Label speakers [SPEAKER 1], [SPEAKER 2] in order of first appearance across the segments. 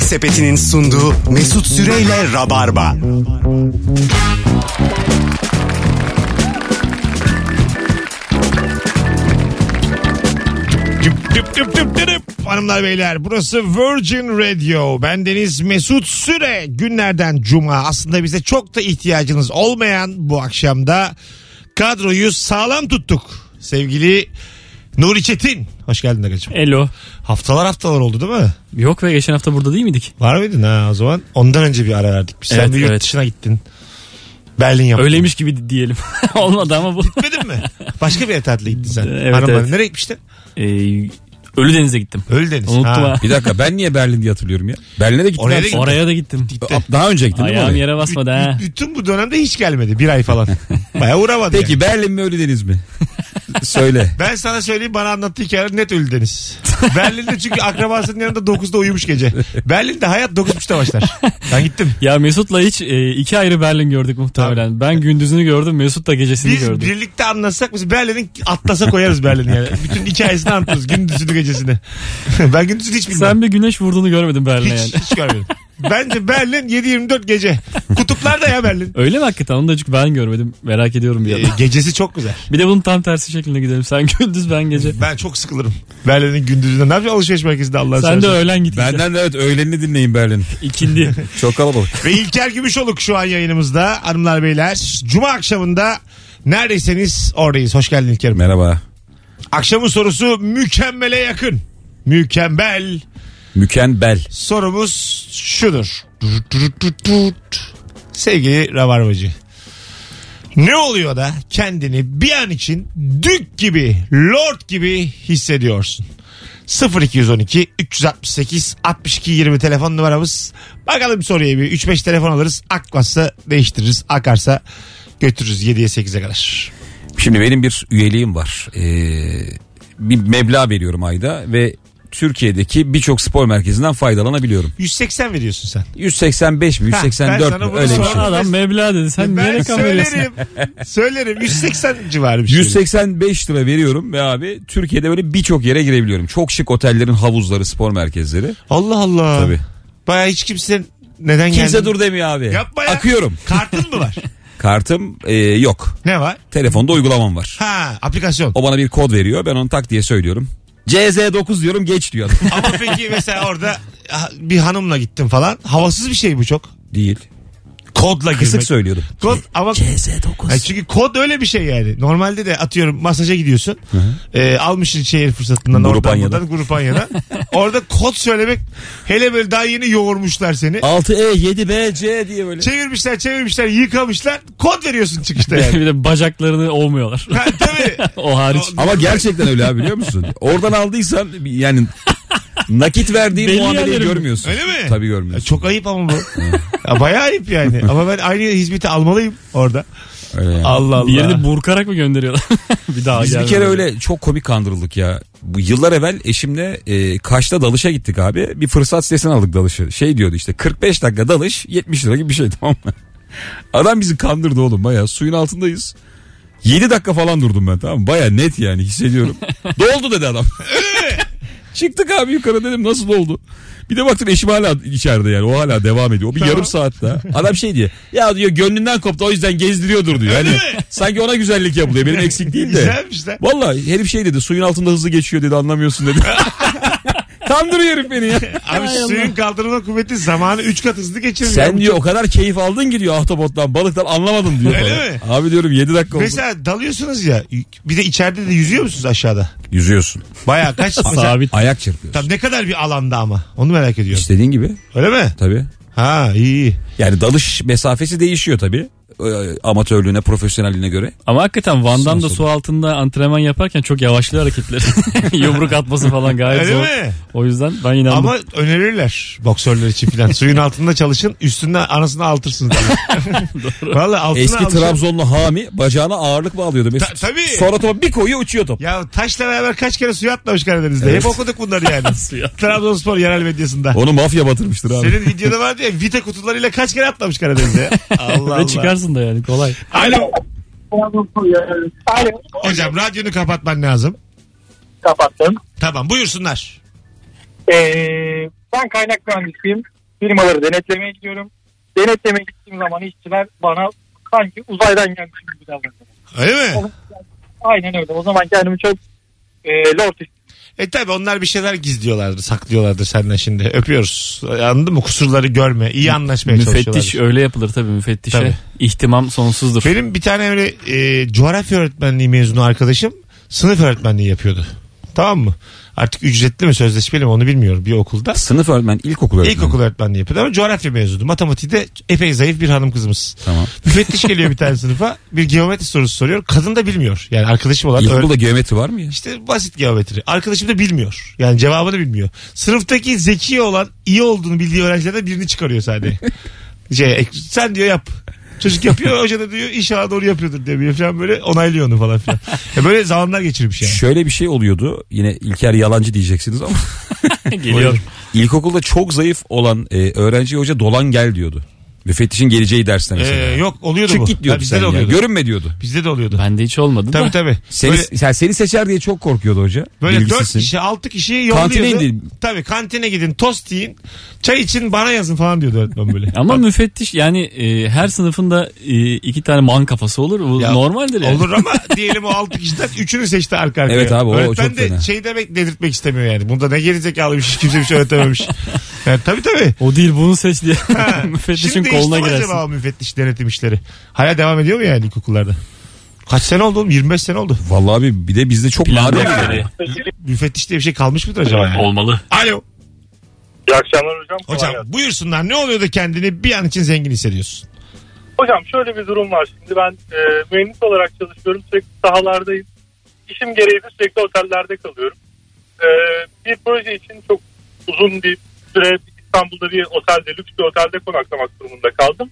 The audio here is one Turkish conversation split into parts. [SPEAKER 1] Sepeti'nin sunduğu Mesut Süreyle Rabarba.
[SPEAKER 2] Düp düp düp düp düp. Hanımlar beyler burası Virgin Radio. Ben Deniz Mesut Süre. Günlerden cuma. Aslında bize çok da ihtiyacınız olmayan bu akşamda kadroyu sağlam tuttuk. Sevgili Nuri Çetin. Hoş geldin Agacığım.
[SPEAKER 3] Elo.
[SPEAKER 2] Haftalar haftalar oldu değil mi?
[SPEAKER 3] Yok ve geçen hafta burada değil miydik?
[SPEAKER 2] Var mıydın ha o zaman? Ondan önce bir ara verdik. Biz. Sen
[SPEAKER 3] Evet,
[SPEAKER 2] bir yurt
[SPEAKER 3] evet.
[SPEAKER 2] dışına gittin. Berlin yaptın.
[SPEAKER 3] Öyleymiş gibi di- diyelim. Olmadı ama bu.
[SPEAKER 2] Gitmedin mi? Başka bir yere tatile gittin sen.
[SPEAKER 3] Evet,
[SPEAKER 2] Hanımlar,
[SPEAKER 3] evet.
[SPEAKER 2] nereye gitmiştin?
[SPEAKER 3] Ee, Ölüdeniz'e gittim.
[SPEAKER 2] Ölüdeniz.
[SPEAKER 3] Unuttum ha.
[SPEAKER 4] Bir dakika ben niye Berlin diye hatırlıyorum ya? Berlin'e de gittim.
[SPEAKER 2] Oraya da
[SPEAKER 4] abi.
[SPEAKER 2] gittim.
[SPEAKER 3] Oraya da gittim.
[SPEAKER 4] Daha önce gittin değil mi
[SPEAKER 3] Ayağım
[SPEAKER 4] oraya?
[SPEAKER 3] yere basmadı ha.
[SPEAKER 2] Bütün bu dönemde hiç gelmedi. Bir ay falan. Baya uğramadı yani.
[SPEAKER 4] Peki Berlin mi Ölüdeniz mi? Söyle.
[SPEAKER 2] Ben sana söyleyeyim bana anlattığı hikayeler net ölü deniz. Berlin'de çünkü akrabasının yanında 9'da uyumuş gece. Berlin'de hayat 9.30'da başlar. Ben gittim.
[SPEAKER 3] Ya Mesut'la hiç e, iki ayrı Berlin gördük muhtemelen. Ben gündüzünü gördüm Mesut da gecesini
[SPEAKER 2] Biz
[SPEAKER 3] gördü.
[SPEAKER 2] birlikte anlatsak biz Berlin'in atlasa koyarız Berlin'i yani. Bütün hikayesini anlatırız gündüzünü gecesini. ben gündüzünü hiç bilmem.
[SPEAKER 3] Sen bir güneş vurduğunu görmedin
[SPEAKER 2] hiç,
[SPEAKER 3] Berlin'e yani.
[SPEAKER 2] hiç görmedim. Bence Berlin 7-24 gece. Kutuplarda ya Berlin.
[SPEAKER 3] Öyle mi hakikaten? Onu da çünkü ben görmedim. Merak ediyorum bir
[SPEAKER 2] Ee,
[SPEAKER 3] yana.
[SPEAKER 2] gecesi çok güzel.
[SPEAKER 3] Bir de bunun tam tersi şeklinde gidelim. Sen gündüz ben gece.
[SPEAKER 2] Ben çok sıkılırım. Berlin'in gündüzünde. Ne yapacağım alışveriş merkezinde Allah'a
[SPEAKER 3] Sen de öğlen git. işte.
[SPEAKER 4] Benden de evet öğlenini dinleyin Berlin.
[SPEAKER 3] İkindi.
[SPEAKER 4] Çok kalabalık.
[SPEAKER 2] Ve İlker Gümüşoluk şu an yayınımızda. Hanımlar beyler. Cuma akşamında neredeyseniz oradayız. Hoş geldin İlker'im.
[SPEAKER 4] Merhaba.
[SPEAKER 2] Akşamın sorusu mükemmele yakın. Mükemmel.
[SPEAKER 4] Mükemmel.
[SPEAKER 2] Sorumuz şudur. Sevgili Rabarbacı. Ne oluyor da kendini bir an için dük gibi, lord gibi hissediyorsun? 0212 368 62 20 telefon numaramız. Bakalım soruya bir 3-5 telefon alırız. Akmazsa değiştiririz. Akarsa götürürüz 7'ye 8'e kadar.
[SPEAKER 4] Şimdi benim bir üyeliğim var. Ee, bir meblağ veriyorum ayda ve Türkiye'deki birçok spor merkezinden faydalanabiliyorum.
[SPEAKER 2] 180 veriyorsun sen.
[SPEAKER 4] 185 mi
[SPEAKER 2] Ha,
[SPEAKER 4] 184
[SPEAKER 2] ben sana
[SPEAKER 4] mi
[SPEAKER 2] bunu
[SPEAKER 4] öyle bir
[SPEAKER 2] sorarım.
[SPEAKER 4] şey.
[SPEAKER 3] Sonra adam meblağ dedi. Sen
[SPEAKER 2] ben
[SPEAKER 3] nereye kamerasın?
[SPEAKER 2] söylerim. söylerim. 180 civarı bir şey.
[SPEAKER 4] 185 lira veriyorum ve abi Türkiye'de böyle birçok yere girebiliyorum. Çok şık otellerin havuzları, spor merkezleri.
[SPEAKER 2] Allah Allah.
[SPEAKER 4] Tabii.
[SPEAKER 2] Baya hiç kimse neden geldi?
[SPEAKER 4] Kimse dur demiyor abi.
[SPEAKER 2] Yapma ya.
[SPEAKER 4] Akıyorum.
[SPEAKER 2] Kartın mı var?
[SPEAKER 4] Kartım e, yok.
[SPEAKER 2] ne var?
[SPEAKER 4] Telefonda uygulamam var.
[SPEAKER 2] Ha aplikasyon.
[SPEAKER 4] O bana bir kod veriyor. Ben onu tak diye söylüyorum. CZ9 diyorum geç diyor.
[SPEAKER 2] Ama peki mesela orada ha- bir hanımla gittim falan. Havasız bir şey bu çok.
[SPEAKER 4] Değil.
[SPEAKER 2] Kodla girmek.
[SPEAKER 4] Kısık söylüyordum.
[SPEAKER 2] Kod ama Ay
[SPEAKER 4] CZ9.
[SPEAKER 2] çünkü kod öyle bir şey yani. Normalde de atıyorum masaja gidiyorsun. E, almışsın şehir fırsatından oradan
[SPEAKER 4] Grupanya'dan.
[SPEAKER 2] buradan Grupanya'dan. orada kod söylemek hele böyle daha yeni yoğurmuşlar seni.
[SPEAKER 4] 6E 7B E C diye böyle.
[SPEAKER 2] Çevirmişler çevirmişler yıkamışlar. Kod veriyorsun çıkışta yani.
[SPEAKER 3] bir de bacaklarını ovmuyorlar.
[SPEAKER 2] ha, tabii.
[SPEAKER 3] o hariç.
[SPEAKER 2] O-
[SPEAKER 4] Ama gerçekten öyle abi biliyor musun? Oradan aldıysan yani nakit verdiğin
[SPEAKER 3] Belli
[SPEAKER 4] muameleyi
[SPEAKER 3] yerlerim.
[SPEAKER 4] görmüyorsun.
[SPEAKER 2] Öyle mi?
[SPEAKER 4] Tabii
[SPEAKER 2] Ya
[SPEAKER 4] görmüyorsun.
[SPEAKER 2] Çok ayıp ama bu. ya bayağı ayıp yani. Ama ben aynı hizmeti almalıyım orada.
[SPEAKER 4] Öyle yani.
[SPEAKER 2] Allah Allah.
[SPEAKER 3] Diğerini burkarak mı gönderiyorlar? bir daha
[SPEAKER 4] Biz bir
[SPEAKER 3] gelmedi.
[SPEAKER 4] kere öyle çok komik kandırıldık ya. Bu yıllar evvel eşimle e, Kaş'ta dalışa gittik abi. Bir fırsat sitesine aldık dalışı. Şey diyordu işte 45 dakika dalış 70 lira gibi bir şey tamam mı? Adam bizi kandırdı oğlum baya suyun altındayız. 7 dakika falan durdum ben tamam mı? Baya net yani hissediyorum. doldu dedi adam. Çıktık abi yukarı dedim nasıl doldu? Bir de baktım eşim hala içeride yani o hala devam ediyor. O bir
[SPEAKER 2] Tamam.
[SPEAKER 4] yarım saat daha. Adam şey diyor ya diyor gönlünden koptu o yüzden gezdiriyordur diyor. Yani sanki ona güzellik yapılıyor benim eksik değil de.
[SPEAKER 2] Güzelmiş lan.
[SPEAKER 4] Vallahi herif şey dedi suyun altında hızlı geçiyor dedi anlamıyorsun dedi. Kandırıyor herif beni ya.
[SPEAKER 2] Abi suyun kaldırma kuvveti zamanı 3 kat hızlı geçirmiyor.
[SPEAKER 4] Sen diyor o kadar keyif aldın ki diyor ahtapottan balıktan anlamadın diyor.
[SPEAKER 2] Öyle
[SPEAKER 4] bana.
[SPEAKER 2] mi?
[SPEAKER 4] Abi diyorum 7 dakika oldu.
[SPEAKER 2] Mesela dalıyorsunuz ya. Bir de içeride de yüzüyor musunuz aşağıda?
[SPEAKER 4] Yüzüyorsun.
[SPEAKER 2] Baya kaç mesela?
[SPEAKER 3] Sabit.
[SPEAKER 4] Ayak çırpıyorsun.
[SPEAKER 2] Tam ne kadar bir alanda ama. Onu merak ediyorum.
[SPEAKER 4] İstediğin gibi
[SPEAKER 2] Öyle mi?
[SPEAKER 4] tabii.
[SPEAKER 2] Ha iyi iyi.
[SPEAKER 4] Yani dalış mesafesi değişiyor tabii. Ee, Amatörlüğüne profesyonelliğine göre.
[SPEAKER 3] Ama hakikaten Van'dan da
[SPEAKER 4] Sağ
[SPEAKER 3] su altında antrenman yaparken çok yavaşlıyor hareketleri. Yumruk atması falan gayet
[SPEAKER 2] Öyle
[SPEAKER 3] zor.
[SPEAKER 2] mi?
[SPEAKER 3] O yüzden ben inandım.
[SPEAKER 2] Ama önerirler boksörler için filan. Suyun altında çalışın üstünde anasını altırsınız. Valla altına
[SPEAKER 4] Eski
[SPEAKER 2] alışın.
[SPEAKER 4] Trabzonlu Hami bacağına ağırlık bağlıyordu. Mesut.
[SPEAKER 2] Ta- tabii.
[SPEAKER 4] Sonra topa bir koyuyor uçuyor top.
[SPEAKER 2] Ya taşla beraber kaç kere suya atlamış Karadeniz'de.
[SPEAKER 4] Evet.
[SPEAKER 2] Hep okuduk bunları yani.
[SPEAKER 3] Suya.
[SPEAKER 2] Trabzonspor yerel medyasında.
[SPEAKER 4] Onu mafya batırmıştır abi.
[SPEAKER 2] Senin videoda vardı ya Vita kutularıyla kaç kere atlamış Karadeniz'e. Allah
[SPEAKER 3] Ve
[SPEAKER 2] Allah.
[SPEAKER 3] çıkarsın da yani kolay.
[SPEAKER 2] Alo.
[SPEAKER 5] Alo.
[SPEAKER 2] Hocam radyonu kapatman lazım.
[SPEAKER 5] Kapattım.
[SPEAKER 2] Tamam buyursunlar.
[SPEAKER 5] Ee, ben kaynak mühendisiyim. firmaları denetlemeye gidiyorum. Denetlemeye gittiğim zaman işçiler bana sanki uzaydan gelmişim gibi davranıyor.
[SPEAKER 2] Öyle mi?
[SPEAKER 5] Olur. Aynen öyle. O zaman kendimi çok e, lord
[SPEAKER 2] E tabi onlar bir şeyler gizliyorlardır, saklıyorlardır senden şimdi. Öpüyoruz. Anladın mı? Kusurları görme. iyi anlaşmaya
[SPEAKER 3] Müfettiş
[SPEAKER 2] çalışıyorlar.
[SPEAKER 3] öyle yapılır tabii müfettişe.
[SPEAKER 2] Tabii.
[SPEAKER 3] İhtimam sonsuzdur.
[SPEAKER 2] Benim bir tane öyle e, coğrafya öğretmenliği mezunu arkadaşım sınıf öğretmenliği yapıyordu. Tamam mı? Artık ücretli mi sözleşmeli mi onu bilmiyorum bir okulda.
[SPEAKER 4] Sınıf öğretmen ilkokul öğretmeni.
[SPEAKER 2] İlkokul öğretmenliği yapıyordu ama coğrafya mezunu. Matematiği de epey zayıf bir hanım kızımız.
[SPEAKER 4] Tamam.
[SPEAKER 2] Müfettiş geliyor bir tane sınıfa. Bir geometri sorusu soruyor. Kadın da bilmiyor. Yani arkadaşım olan öğretmen-
[SPEAKER 4] İlkokulda geometri var mı ya?
[SPEAKER 2] İşte basit geometri. Arkadaşım da bilmiyor. Yani cevabını bilmiyor. Sınıftaki zeki olan, iyi olduğunu bildiği öğrencilerden birini çıkarıyor sadece. şey, ek- sen diyor yap. Çocuk yapıyor, hoca da diyor inşallah doğru yapıyordur diyor falan böyle onaylıyor onu falan filan. Ya böyle zamanlar geçirmiş yani.
[SPEAKER 4] Şöyle bir şey oluyordu. Yine İlker yalancı diyeceksiniz ama.
[SPEAKER 3] Geliyor.
[SPEAKER 4] İlkokulda çok zayıf olan e, öğrenci hoca dolan gel diyordu. Müfettişin geleceği dersten
[SPEAKER 2] Ee,
[SPEAKER 4] mesela.
[SPEAKER 2] yok oluyordu bu.
[SPEAKER 4] Çık git
[SPEAKER 2] Ha,
[SPEAKER 4] diyordu
[SPEAKER 2] bizde
[SPEAKER 4] sen
[SPEAKER 2] de
[SPEAKER 4] ya.
[SPEAKER 2] oluyordu.
[SPEAKER 4] Görünme diyordu.
[SPEAKER 2] Bizde de oluyordu.
[SPEAKER 3] Bende hiç olmadı
[SPEAKER 2] Tabii
[SPEAKER 3] da.
[SPEAKER 2] tabii.
[SPEAKER 4] Seni,
[SPEAKER 2] Böyle-
[SPEAKER 4] sen- seni seçer diye çok korkuyordu hoca.
[SPEAKER 2] Böyle dört
[SPEAKER 4] Bilgisizsin.
[SPEAKER 2] kişi altı kişiyi yolluyordu.
[SPEAKER 4] Kantine indin.
[SPEAKER 2] Tabii kantine gidin tost yiyin. Çay için bana yazın falan diyordu öğretmen böyle.
[SPEAKER 3] Ama müfettiş yani e, her sınıfında e, iki tane man kafası olur. Bu
[SPEAKER 2] Ya,
[SPEAKER 3] normaldir yani.
[SPEAKER 2] Olur ama diyelim o 6 kişiden 3'ünü seçti arka arkaya.
[SPEAKER 4] Evet abi, o
[SPEAKER 2] Öğretmen
[SPEAKER 4] çok
[SPEAKER 2] de
[SPEAKER 4] fena.
[SPEAKER 2] şey demek dedirtmek istemiyor yani. Bunda ne gerizekalı bir şey kimse bir şey öğretememiş. Yani tabii tabii.
[SPEAKER 3] O değil bunu seç diye.
[SPEAKER 2] Ha,
[SPEAKER 3] Müfettişin
[SPEAKER 2] Şimdi
[SPEAKER 3] koluna
[SPEAKER 2] değişti mi
[SPEAKER 3] girersin.
[SPEAKER 2] acaba o müfettiş denetim işleri? Hala devam ediyor mu yani ilkokullarda? Kaç sene oldu oğlum? 25 sene oldu.
[SPEAKER 4] Vallahi abi bir de bizde çok
[SPEAKER 3] Planlı
[SPEAKER 4] nadir.
[SPEAKER 3] bir yere.
[SPEAKER 2] Müfettiş diye bir şey kalmış mıdır acaba? yani?
[SPEAKER 3] Olmalı.
[SPEAKER 2] Alo.
[SPEAKER 5] İyi akşamlar hocam. Kolay
[SPEAKER 2] Hocam
[SPEAKER 5] gelsin.
[SPEAKER 2] buyursunlar. Ne oluyor da kendini bir an için zengin hissediyorsun?
[SPEAKER 5] Hocam şöyle bir durum var şimdi ben e, mühendis olarak çalışıyorum sürekli sahalardayım. İşim gereği de sürekli otellerde kalıyorum. E, bir proje için çok uzun bir süre İstanbul'da bir otelde lüks bir otelde konaklamak durumunda kaldım.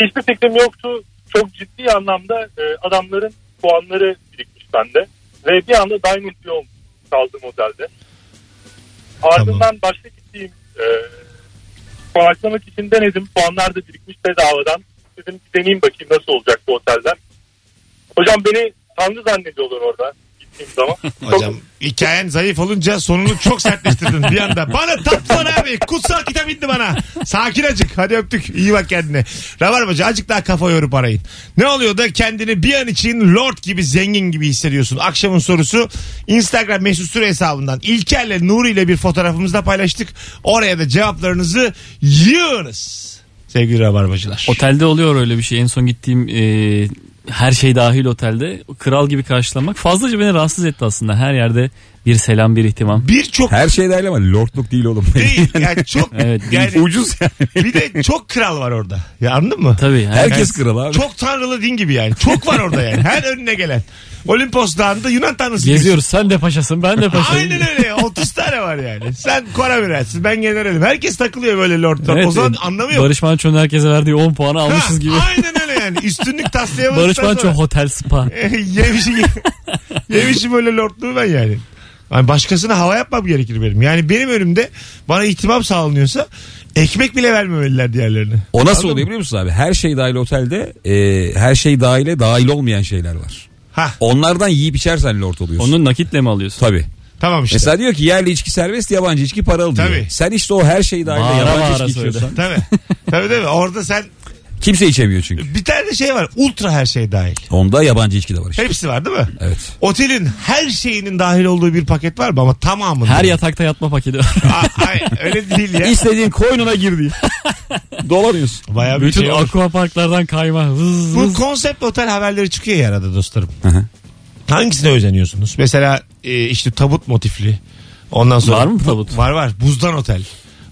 [SPEAKER 5] Hiçbir fikrim yoktu. Çok ciddi anlamda e, adamların puanları birikmiş bende. Ve bir anda diamond bir olmuş kaldığım otelde. Ardından başka gittiğim e, Puanlamak için denedim. Puanlar da birikmiş bedavadan. Dedim bir deneyeyim bakayım nasıl olacak bu otelden. Hocam beni tanrı zannediyorlar orada gittiğim zaman.
[SPEAKER 2] Hocam hikayen zayıf olunca sonunu çok sertleştirdin bir anda. Bana taptılar abi. Kutsal kitap indi bana. Sakin acık. Hadi öptük. İyi bak kendine. Rabarbacı acık daha kafa yorup arayın. Ne oluyor da kendini bir an için lord gibi zengin gibi hissediyorsun. Akşamın sorusu Instagram mesut süre hesabından İlker'le Nuri ile bir fotoğrafımızda paylaştık. Oraya da cevaplarınızı yığınız. Sevgili Rabarbacılar.
[SPEAKER 3] Otelde oluyor öyle bir şey. En son gittiğim e, her şey dahil otelde kral gibi karşılamak fazlaca beni rahatsız etti aslında. Her yerde bir selam bir ihtimam.
[SPEAKER 2] Birçok
[SPEAKER 4] Her şey derler ama lordluk değil oğlum.
[SPEAKER 2] değil. Yani çok
[SPEAKER 3] Evet,
[SPEAKER 2] yani
[SPEAKER 4] Ucuz yani.
[SPEAKER 2] bir de çok kral var orada. Ya anladın mı?
[SPEAKER 3] Tabii. yani
[SPEAKER 4] Herkes kral abi.
[SPEAKER 2] Çok tanrılı din gibi yani. Çok var orada yani. Her önüne gelen. Olimpos Dağı'nda Yunan tanrısı.
[SPEAKER 3] Geziyoruz sen de paşasın ben de
[SPEAKER 2] diyorsun.
[SPEAKER 3] paşayım.
[SPEAKER 2] Aynen öyle. 30 tane var yani. Sen Koramirelsin. Ben generalim. Herkes takılıyor böyle lordta.
[SPEAKER 3] Evet,
[SPEAKER 2] o zaman
[SPEAKER 3] e,
[SPEAKER 2] anlamıyor.
[SPEAKER 3] Barış Manço'nun herkese verdiği 10 puanı
[SPEAKER 2] Ha,
[SPEAKER 3] almışız gibi.
[SPEAKER 2] Aynen öyle yani. Üstünlük taslayamadıktan
[SPEAKER 3] Barış Manço
[SPEAKER 2] sonra.
[SPEAKER 3] Hotel Spa.
[SPEAKER 2] yemişim, yemişim öyle lordluğu ben yani. Yani başkasına hava yapmam gerekir benim. Yani benim önümde bana ihtimam sağlanıyorsa ekmek bile vermemeliler diğerlerine.
[SPEAKER 4] O nasıl
[SPEAKER 2] Anladın
[SPEAKER 4] oluyor
[SPEAKER 2] mı?
[SPEAKER 4] biliyor musun abi? Her şey dahil otelde e, her şey dahile dahil olmayan şeyler var.
[SPEAKER 2] Ha
[SPEAKER 4] Onlardan yiyip içersen lord oluyorsun.
[SPEAKER 3] Onu nakitle mi alıyorsun?
[SPEAKER 4] Tabii.
[SPEAKER 2] tamam işte.
[SPEAKER 4] Mesela diyor ki yerli içki serbest yabancı içki paralı diyor.
[SPEAKER 2] Tabii.
[SPEAKER 4] Sen işte o her şey dahil
[SPEAKER 3] Bağıra
[SPEAKER 4] yabancı
[SPEAKER 3] bağıra
[SPEAKER 4] içki
[SPEAKER 3] söyle.
[SPEAKER 4] içiyorsan.
[SPEAKER 2] Tabii. Tabii değil mi? Orada sen
[SPEAKER 4] Kimse içemiyor çünkü.
[SPEAKER 2] Bir tane de şey var. Ultra her şey dahil.
[SPEAKER 4] Onda yabancı içki de var işte.
[SPEAKER 2] Hepsi var değil mi?
[SPEAKER 4] Evet.
[SPEAKER 2] Otelin her şeyinin dahil olduğu bir paket var mı? Ama tamamında.
[SPEAKER 3] Her yatakta yatma paketi var.
[SPEAKER 2] Aa, ay, öyle değil ya.
[SPEAKER 4] İstediğin koynuna gir diye. Dolanıyorsun.
[SPEAKER 2] Bayağı bir
[SPEAKER 3] Bütün
[SPEAKER 2] şey olur.
[SPEAKER 3] aqua parklardan kayma. Hız,
[SPEAKER 2] Bu
[SPEAKER 3] hız.
[SPEAKER 2] konsept otel haberleri çıkıyor ya arada dostlarım.
[SPEAKER 4] Hı hı.
[SPEAKER 2] Hangisine özeniyorsunuz? Mesela e, işte tabut motifli. Ondan sonra.
[SPEAKER 3] Var mı tabut?
[SPEAKER 2] Var var. Buzdan otel.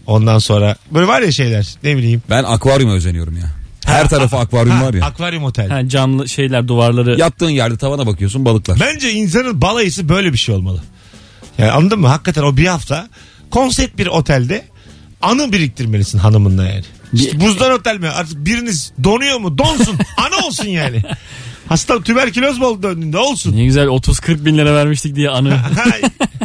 [SPEAKER 2] Ondan sonra. Böyle var ya şeyler. Ne bileyim.
[SPEAKER 4] Ben akvaryuma özeniyorum ya. Her tarafı akvaryum
[SPEAKER 2] Ha,
[SPEAKER 4] var ya.
[SPEAKER 2] Akvaryum otel.
[SPEAKER 3] Ha, camlı şeyler duvarları.
[SPEAKER 4] Yattığın yerde tavana bakıyorsun balıklar.
[SPEAKER 2] Bence insanın balayısı böyle bir şey olmalı. Yani anladın mı? Hakikaten o bir hafta konsept bir otelde anı biriktirmelisin hanımınla yani. İşte buzdan otel mi? Artık biriniz donuyor mu? Donsun. anı olsun yani. Hasta tüberküloz mu oldu döndüğünde? Olsun.
[SPEAKER 3] Ne güzel 30-40 bin lira vermiştik diye anı.
[SPEAKER 2] Ha,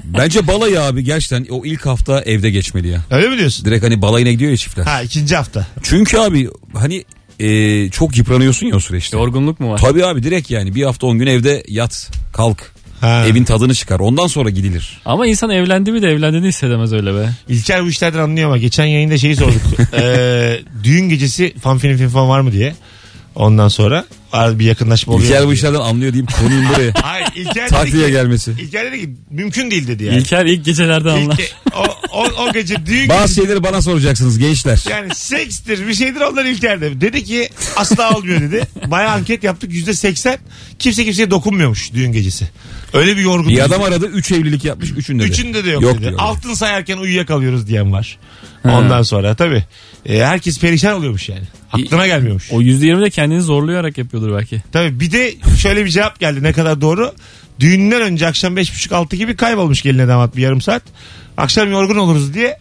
[SPEAKER 4] Bence balayı abi gerçekten o ilk hafta evde geçmeli ya.
[SPEAKER 2] Öyle mi diyorsun?
[SPEAKER 4] Direkt hani balayına gidiyor ya çiftler.
[SPEAKER 2] Ha ikinci hafta.
[SPEAKER 4] Çünkü abi hani e, çok yıpranıyorsun ya o süreçte.
[SPEAKER 3] Yorgunluk mu var?
[SPEAKER 4] Tabii abi direkt yani bir hafta 10 gün evde yat kalk.
[SPEAKER 2] Ha.
[SPEAKER 4] Evin tadını çıkar. Ondan sonra gidilir.
[SPEAKER 3] Ama insan evlendi mi de evlendiğini hissedemez öyle be.
[SPEAKER 2] İlker bu işlerden anlıyor ama geçen yayında şeyi sorduk. Ee, düğün gecesi fanfinin fin fan var mı diye. Ondan sonra ar- bir yakınlaşma oluyor.
[SPEAKER 4] İlker
[SPEAKER 2] mu
[SPEAKER 4] bu
[SPEAKER 2] diye.
[SPEAKER 4] işlerden anlıyor deyip konuyum buraya.
[SPEAKER 2] Hayır İlker dedi
[SPEAKER 4] Tatlıya
[SPEAKER 2] ki,
[SPEAKER 4] gelmesi.
[SPEAKER 2] İlker dedi ki mümkün değil dedi yani.
[SPEAKER 3] İlker ilk gecelerde anlar.
[SPEAKER 2] İlke- o, o, o gece düğün
[SPEAKER 4] Bazı şeyleri bana soracaksınız gençler.
[SPEAKER 2] Yani sekstir bir şeydir onlar İlker'de. Dedi ki asla olmuyor dedi. Bayağı anket yaptık yüzde seksen. Kimse kimseye dokunmuyormuş düğün gecesi. Öyle bir yorgunluk.
[SPEAKER 4] Bir adam aradı 3 evlilik yapmış 3'ünde de.
[SPEAKER 2] Üçünde de yok, dedi.
[SPEAKER 4] diyor.
[SPEAKER 2] Altın sayarken uyuyakalıyoruz diyen var. Ondan sonra tabii. E, herkes perişan oluyormuş yani. Aklına gelmiyormuş.
[SPEAKER 3] O %20 de kendini zorlayarak yapıyordur belki.
[SPEAKER 2] Tabii bir de şöyle bir cevap geldi ne kadar doğru. Düğünden önce akşam 5.30-6 gibi kaybolmuş geline damat bir yarım saat. Akşam yorgun oluruz diye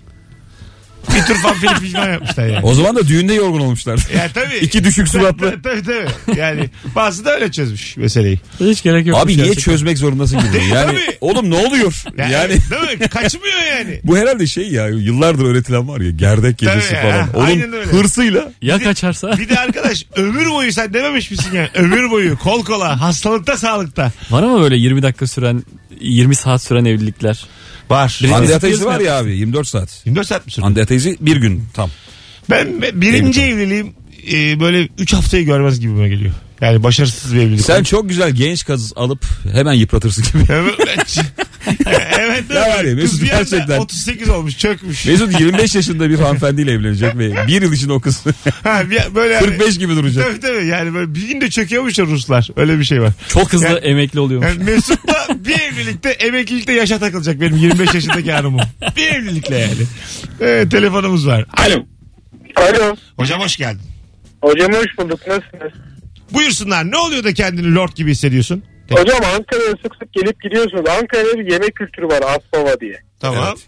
[SPEAKER 2] bir tür fanfili filmler yapmışlar yani.
[SPEAKER 4] O zaman da düğünde yorgun olmuşlar.
[SPEAKER 2] Ya tabii.
[SPEAKER 4] İki düşük suratlı.
[SPEAKER 2] Tabii tabii. tabii. Yani bazı da öyle çözmüş meseleyi.
[SPEAKER 3] Hiç gerek yok.
[SPEAKER 4] Abi niye çözmek zorundasın gibi. Yani
[SPEAKER 2] Tabii.
[SPEAKER 4] oğlum ne oluyor?
[SPEAKER 2] Yani,
[SPEAKER 4] Yani
[SPEAKER 2] değil mi? Kaçmıyor yani.
[SPEAKER 4] bu herhalde şey ya yıllardır öğretilen var ya gerdek gecesi
[SPEAKER 2] Tabii ya,
[SPEAKER 4] falan.
[SPEAKER 2] aynen
[SPEAKER 4] Oğlum
[SPEAKER 2] öyle.
[SPEAKER 4] hırsıyla
[SPEAKER 3] Ya kaçarsa?
[SPEAKER 2] Bir de arkadaş ömür boyu sen dememiş misin yani? Ömür boyu kol kola hastalıkta sağlıkta.
[SPEAKER 3] Var ama böyle 20 dakika süren 20 saat süren evlilikler.
[SPEAKER 2] Var.
[SPEAKER 4] Hande
[SPEAKER 3] Birinci-
[SPEAKER 4] Ataizi var ya abi 24 saat.
[SPEAKER 2] 24 saat mi sürdü?
[SPEAKER 4] Hande Ataizi bir gün tam.
[SPEAKER 2] Ben ben birinci evliliğim e, böyle 3 haftayı görmez gibime geliyor. Yani başarısız bir evlilik.
[SPEAKER 4] Sen çok güzel genç kız alıp hemen yıpratırsın gibi.
[SPEAKER 2] Evet. evet.
[SPEAKER 4] Ya var
[SPEAKER 2] Kız
[SPEAKER 4] ya, Mesut
[SPEAKER 2] bir anda
[SPEAKER 4] gerçekten.
[SPEAKER 2] 38 olmuş çökmüş.
[SPEAKER 4] Mesut 25 yaşında bir hanımefendiyle evlenecek ve bir yıl için o kız
[SPEAKER 2] Ha, bir- böyle yani-
[SPEAKER 4] 45 gibi duracak.
[SPEAKER 2] Tabii tabii yani böyle bir günde çöküyormuş ya Ruslar. Öyle bir şey var.
[SPEAKER 3] Çok hızlı
[SPEAKER 2] Yani-
[SPEAKER 3] emekli oluyormuş.
[SPEAKER 2] Yani Mesut'la bir evlilikte emeklilikte yaşa takılacak benim 25 yaşındaki hanımım. Bir evlilikle yani. Ee, telefonumuz var. Alo.
[SPEAKER 5] Alo.
[SPEAKER 2] Hocam hoş geldin.
[SPEAKER 5] Hocam hoş bulduk. Nasılsınız?
[SPEAKER 2] Buyursunlar ne oluyor da kendini lord gibi hissediyorsun? Tek-
[SPEAKER 5] Hocam Ankara'ya sık sık gelip gidiyorsunuz. Ankara'da bir yemek kültürü var Asbaba diye.
[SPEAKER 2] Tamam.
[SPEAKER 4] Evet.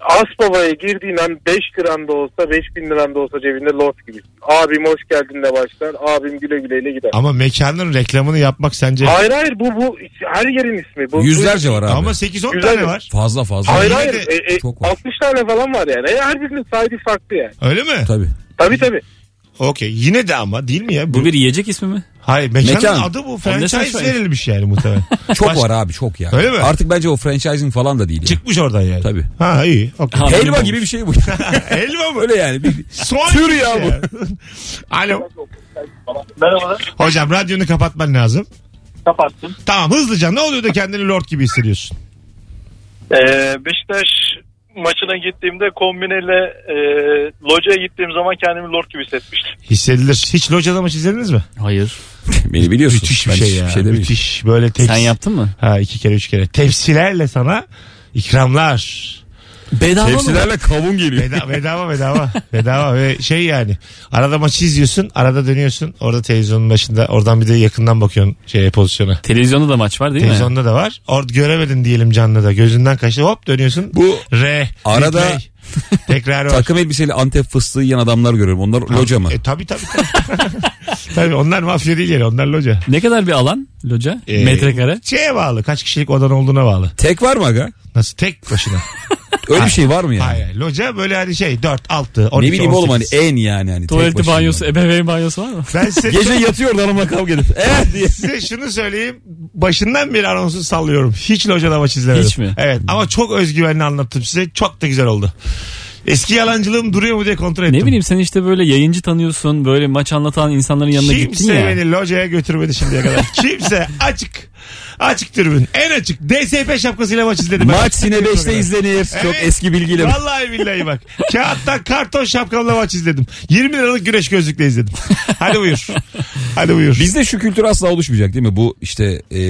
[SPEAKER 5] Asbaba'ya girdiğin an 5 liran da olsa 5 bin liran da olsa cebinde lord gibisin. Abim hoş geldin de başlar. Abim güle güleyle gider.
[SPEAKER 2] Ama mekanın reklamını yapmak sence...
[SPEAKER 5] Hayır hayır bu bu her yerin ismi. Bu,
[SPEAKER 4] Yüzlerce var abi.
[SPEAKER 2] Ama 8-10
[SPEAKER 5] Güzel
[SPEAKER 2] tane
[SPEAKER 5] mi?
[SPEAKER 2] var.
[SPEAKER 4] Fazla
[SPEAKER 5] Bu,
[SPEAKER 4] fazla.
[SPEAKER 5] hayır
[SPEAKER 2] Yine
[SPEAKER 5] hayır.
[SPEAKER 2] de
[SPEAKER 5] E, e,
[SPEAKER 4] çok var.
[SPEAKER 5] 60 tane falan var yani. E, her birinin sahibi farklı yani.
[SPEAKER 2] Öyle mi?
[SPEAKER 4] Tabii.
[SPEAKER 5] Tabii tabii.
[SPEAKER 2] Okey. Yine de ama değil mi ya? Bu,
[SPEAKER 3] Bu bir yiyecek ismi mi?
[SPEAKER 2] Hayır mekanın
[SPEAKER 4] Mekan.
[SPEAKER 2] adı bu.
[SPEAKER 3] Anlasana
[SPEAKER 2] Franchise
[SPEAKER 3] şu an.
[SPEAKER 2] verilmiş yani muhtemelen.
[SPEAKER 4] Çok
[SPEAKER 2] Baş-
[SPEAKER 4] var abi çok ya.
[SPEAKER 2] Öyle mi?
[SPEAKER 4] Artık bence o franchising falan da değil. ya.
[SPEAKER 2] Çıkmış oradan yani.
[SPEAKER 4] Tabii.
[SPEAKER 2] Ha iyi. Okey.
[SPEAKER 3] Ha.
[SPEAKER 4] Helva
[SPEAKER 3] Anladım.
[SPEAKER 4] gibi bir şey bu.
[SPEAKER 2] Elma mı?
[SPEAKER 4] Öyle yani. Bir...
[SPEAKER 2] Son
[SPEAKER 4] Tür
[SPEAKER 2] gibi
[SPEAKER 4] ya
[SPEAKER 2] şey
[SPEAKER 4] bu.
[SPEAKER 2] yani. Alo.
[SPEAKER 5] Merhabalar.
[SPEAKER 2] Hocam radyonu kapatman lazım.
[SPEAKER 5] Kapattım.
[SPEAKER 2] Tamam hızlıca ne oluyor da kendini lord gibi hissediyorsun?
[SPEAKER 5] Ee, Beşiktaş maçına gittiğimde kombineyle e, locaya gittiğim zaman kendimi lord gibi hissetmiştim.
[SPEAKER 2] Hissedilir. Hiç locada maç izlediniz mi?
[SPEAKER 3] Hayır.
[SPEAKER 4] Beni biliyorsun.
[SPEAKER 2] Müthiş bir
[SPEAKER 4] Ben
[SPEAKER 2] şey
[SPEAKER 4] hiçbir
[SPEAKER 2] ya.
[SPEAKER 4] demeyeyim.
[SPEAKER 2] Müthiş. Böyle tepsi.
[SPEAKER 3] Sen yaptın mı?
[SPEAKER 2] Ha iki kere üç kere. Tepsilerle sana ikramlar.
[SPEAKER 3] Bedava mı?
[SPEAKER 4] Tepsilerle kavun geliyor.
[SPEAKER 2] Veda, bedava bedava. bedava ve şey yani. Arada maçı izliyorsun. Arada dönüyorsun. Orada televizyonun başında. Oradan bir de yakından bakıyorsun şeye pozisyona.
[SPEAKER 3] Televizyonda da maç var değil mi?
[SPEAKER 2] Televizyonda da var. Orada göremedin diyelim canlıda. Gözünden kaçtı. Hop dönüyorsun.
[SPEAKER 4] Bu
[SPEAKER 2] R.
[SPEAKER 4] Arada-
[SPEAKER 2] replay. Tekrar var.
[SPEAKER 4] takım elbiseli Antep fıstığı yiyen adamlar görüyorum. Onlar loca mı?
[SPEAKER 2] E, tabii tabii. Tabii. tabii onlar mafya değil yani. Onlar loca.
[SPEAKER 3] Ne kadar bir alan loca?
[SPEAKER 2] Ee,
[SPEAKER 3] Metrekare.
[SPEAKER 2] Şeye bağlı. Kaç kişilik odan olduğuna bağlı.
[SPEAKER 4] Tek var mı aga?
[SPEAKER 2] Nasıl? Tek başına.
[SPEAKER 4] Öyle bir şey var mı yani?
[SPEAKER 2] Hayır. hayır. Loca böyle hani şey 4, 6, 12,
[SPEAKER 4] ne bileyim
[SPEAKER 2] 18.
[SPEAKER 4] oğlum hani en yani. Hani tek
[SPEAKER 3] Tuvaleti
[SPEAKER 4] başına.
[SPEAKER 3] banyosu, e- ebeveyn banyosu var mı?
[SPEAKER 2] Ben size,
[SPEAKER 4] Gece yatıyor da hanımla kavga edip. Eh diye.
[SPEAKER 2] size şunu söyleyeyim. Başından beri anonsu sallıyorum. Hiç locada maç izlemedim.
[SPEAKER 3] Hiç mi?
[SPEAKER 2] Evet ama çok özgüvenli anlattım size. Çok da güzel oldu. Eski yalancılığım duruyor mu diye kontrol ettim.
[SPEAKER 3] Ne bileyim sen işte böyle yayıncı tanıyorsun. Böyle maç anlatan insanların yanına gittin
[SPEAKER 2] Kimse
[SPEAKER 3] ya.
[SPEAKER 2] beni locaya götürmedi şimdiye kadar. Kimse açık. Açık tribün. En açık. DSP şapkasıyla maç izledim. ben.
[SPEAKER 4] Maç Sine 5'te izlenir. Çok
[SPEAKER 2] şey Evet.
[SPEAKER 4] eski bilgiyle.
[SPEAKER 2] Vallahi billahi bak. Kağıttan karton şapkamla maç izledim. 20 liralık güneş gözlükle izledim. Hadi buyur. Hadi buyur.
[SPEAKER 4] Bizde şu kültür asla oluşmayacak değil mi? Bu işte e,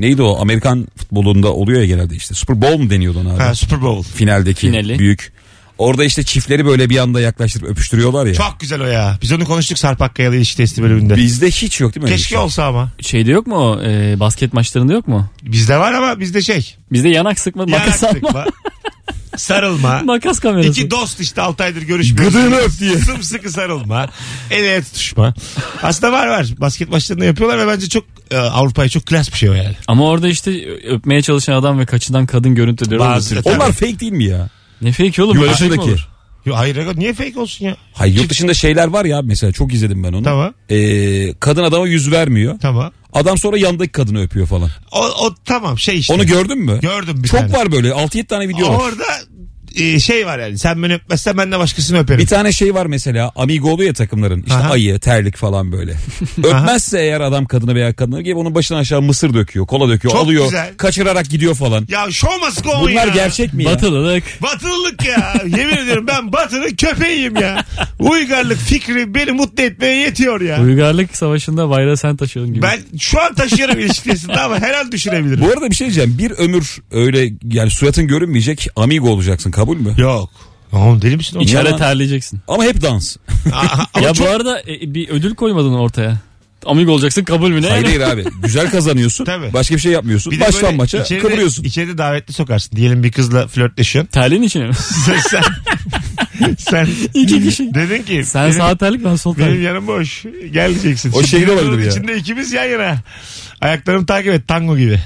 [SPEAKER 4] neydi o Amerikan futbolunda oluyor ya genelde işte. Super Bowl mu deniyordu ona abi?
[SPEAKER 2] ha, Super Bowl.
[SPEAKER 4] Finaldeki
[SPEAKER 3] Finali.
[SPEAKER 4] büyük. Orada işte çiftleri böyle bir anda yaklaştırıp öpüştürüyorlar ya.
[SPEAKER 2] Çok güzel o ya. Biz onu konuştuk Sarp Akkaya'lı ilişki testi bölümünde.
[SPEAKER 4] Bizde hiç yok değil mi? öyle bir
[SPEAKER 2] Keşke
[SPEAKER 4] şey?
[SPEAKER 2] olsa ama.
[SPEAKER 3] Şeyde yok mu o? e, basket maçlarında yok mu?
[SPEAKER 2] Bizde var ama bizde şey.
[SPEAKER 3] Bizde yanak sıkma, makas
[SPEAKER 2] Yarak
[SPEAKER 3] alma.
[SPEAKER 2] sıkma, Sarılma.
[SPEAKER 3] Makas kamerası.
[SPEAKER 2] İki dost işte 6 aydır görüşmüyoruz.
[SPEAKER 4] Gıdığını öp diye.
[SPEAKER 2] Sımsıkı sarılma. El ele tutuşma. Aslında var var. Basket maçlarında yapıyorlar ve bence çok e, Avrupa'ya çok klas bir şey o yani.
[SPEAKER 3] Ama orada işte öpmeye çalışan adam ve kaçınan kadın görüntüleri
[SPEAKER 2] Bazı-
[SPEAKER 3] oluşturuyor.
[SPEAKER 2] Tabii.
[SPEAKER 4] Onlar fake değil mi ya?
[SPEAKER 3] Ne fake oğlum
[SPEAKER 4] Yurt
[SPEAKER 3] böyle şey mi
[SPEAKER 4] dışındaki.
[SPEAKER 3] olur?
[SPEAKER 2] Yo, hayır aga, niye fake olsun ya?
[SPEAKER 4] Hayır yurt dışında şeyler var ya mesela çok izledim ben onu.
[SPEAKER 2] Tamam.
[SPEAKER 4] Ee, kadın adama yüz vermiyor.
[SPEAKER 2] Tamam.
[SPEAKER 4] Adam sonra yandaki kadını öpüyor falan.
[SPEAKER 2] O, o tamam şey işte.
[SPEAKER 4] Onu gördün mü?
[SPEAKER 2] Gördüm bir
[SPEAKER 4] Çok
[SPEAKER 2] tane.
[SPEAKER 4] var böyle 6-7 tane video var.
[SPEAKER 2] Orada e, şey var yani. Sen beni öpmezsen ben de başkasını öperim.
[SPEAKER 4] Bir tane şey var mesela amigo oluyor ya takımların işte
[SPEAKER 2] Aha.
[SPEAKER 4] ayı terlik falan böyle. Öpmezse eğer adam kadını veya kadını gibi onun başından aşağı mısır döküyor kola döküyor
[SPEAKER 2] Çok
[SPEAKER 4] alıyor
[SPEAKER 2] güzel.
[SPEAKER 4] kaçırarak gidiyor falan.
[SPEAKER 2] ya show must go on
[SPEAKER 4] Bunlar
[SPEAKER 2] ya.
[SPEAKER 4] gerçek mi ya?
[SPEAKER 3] Batılılık.
[SPEAKER 2] Batılılık ya. Yemin ediyorum ben batının köpeğiyim ya. Uygarlık fikri beni mutlu etmeye yetiyor ya.
[SPEAKER 3] Uygarlık savaşında bayrağı sen taşıyorsun gibi.
[SPEAKER 2] Ben şu an taşıyorum ilişkisinde ama her an düşürebilirim.
[SPEAKER 4] Bu arada bir şey diyeceğim bir ömür öyle yani suratın görünmeyecek amigo olacaksın kabul mü?
[SPEAKER 2] Yok. Oğlum deli misin oğlum?
[SPEAKER 3] İçeride
[SPEAKER 4] Yalan.
[SPEAKER 3] terleyeceksin.
[SPEAKER 4] Ama hep dans.
[SPEAKER 2] Aa, ama
[SPEAKER 3] ya
[SPEAKER 2] çok-
[SPEAKER 3] bu arada e, bir ödül koymadın ortaya. Amigo olacaksın kabul mü ne?
[SPEAKER 4] Hayır hayır abi güzel kazanıyorsun
[SPEAKER 2] Tabii.
[SPEAKER 4] başka bir şey yapmıyorsun
[SPEAKER 2] Bir de böyle
[SPEAKER 4] baştan maça
[SPEAKER 2] içeride-
[SPEAKER 4] kıvırıyorsun.
[SPEAKER 2] İçeride davetli sokarsın. Diyelim bir kızla flörtleşiyorsun.
[SPEAKER 3] Terliğin içine mi?
[SPEAKER 2] Sen, sen, sen
[SPEAKER 3] İki kişi.
[SPEAKER 2] dedin ki
[SPEAKER 3] Sen
[SPEAKER 2] benim,
[SPEAKER 3] sağ terlik ben sol
[SPEAKER 2] benim
[SPEAKER 3] terlik.
[SPEAKER 2] yanım boş. Geleceksin.
[SPEAKER 4] O şehir
[SPEAKER 2] Şimdi
[SPEAKER 4] olabilir ya.
[SPEAKER 2] İçinde ikimiz yan yana. Ayaklarımı takip et tango gibi.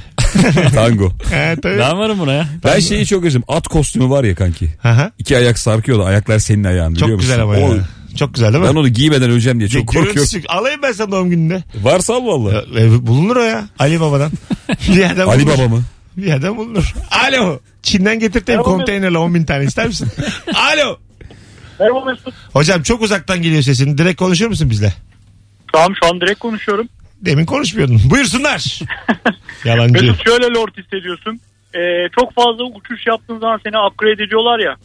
[SPEAKER 4] Tango.
[SPEAKER 2] He, tabii.
[SPEAKER 3] Ben varım buna ya.
[SPEAKER 4] Ben şeyi çok özledim at kostümü var ya kanki.
[SPEAKER 2] Aha.
[SPEAKER 4] İki ayak sarkıyor da ayaklar senin ayağın biliyor
[SPEAKER 2] Çok
[SPEAKER 4] musun?
[SPEAKER 2] güzel ama
[SPEAKER 4] O-
[SPEAKER 2] ya. Çok güzel değil mi?
[SPEAKER 4] Ben onu giymeden öleceğim diye
[SPEAKER 2] Ya,
[SPEAKER 4] çok korkuyorum.
[SPEAKER 2] görüntüsü- Alayım ben sana doğum gününde.
[SPEAKER 4] Varsa al valla.
[SPEAKER 2] Ya, e, bulunur o ya. Ali Baba'dan. bir yerden
[SPEAKER 4] Ali
[SPEAKER 2] bulunur.
[SPEAKER 4] Baba mı?
[SPEAKER 2] Bir yerden bulunur. Alo. Çin'den getirteyim
[SPEAKER 5] Merhaba.
[SPEAKER 2] konteynerle 10 bin tane ister misin? Alo.
[SPEAKER 5] Merhaba Mesut.
[SPEAKER 2] Hocam çok uzaktan geliyor sesin. Direkt konuşur musun bizle?
[SPEAKER 5] Tamam şu an direkt konuşuyorum.
[SPEAKER 2] Demin konuşmuyordun. Buyursunlar. Yalancı.
[SPEAKER 5] Mesut şöyle lord hissediyorsun. Ee, çok fazla uçuş yaptığın zaman seni upgrade ediyorlar ya.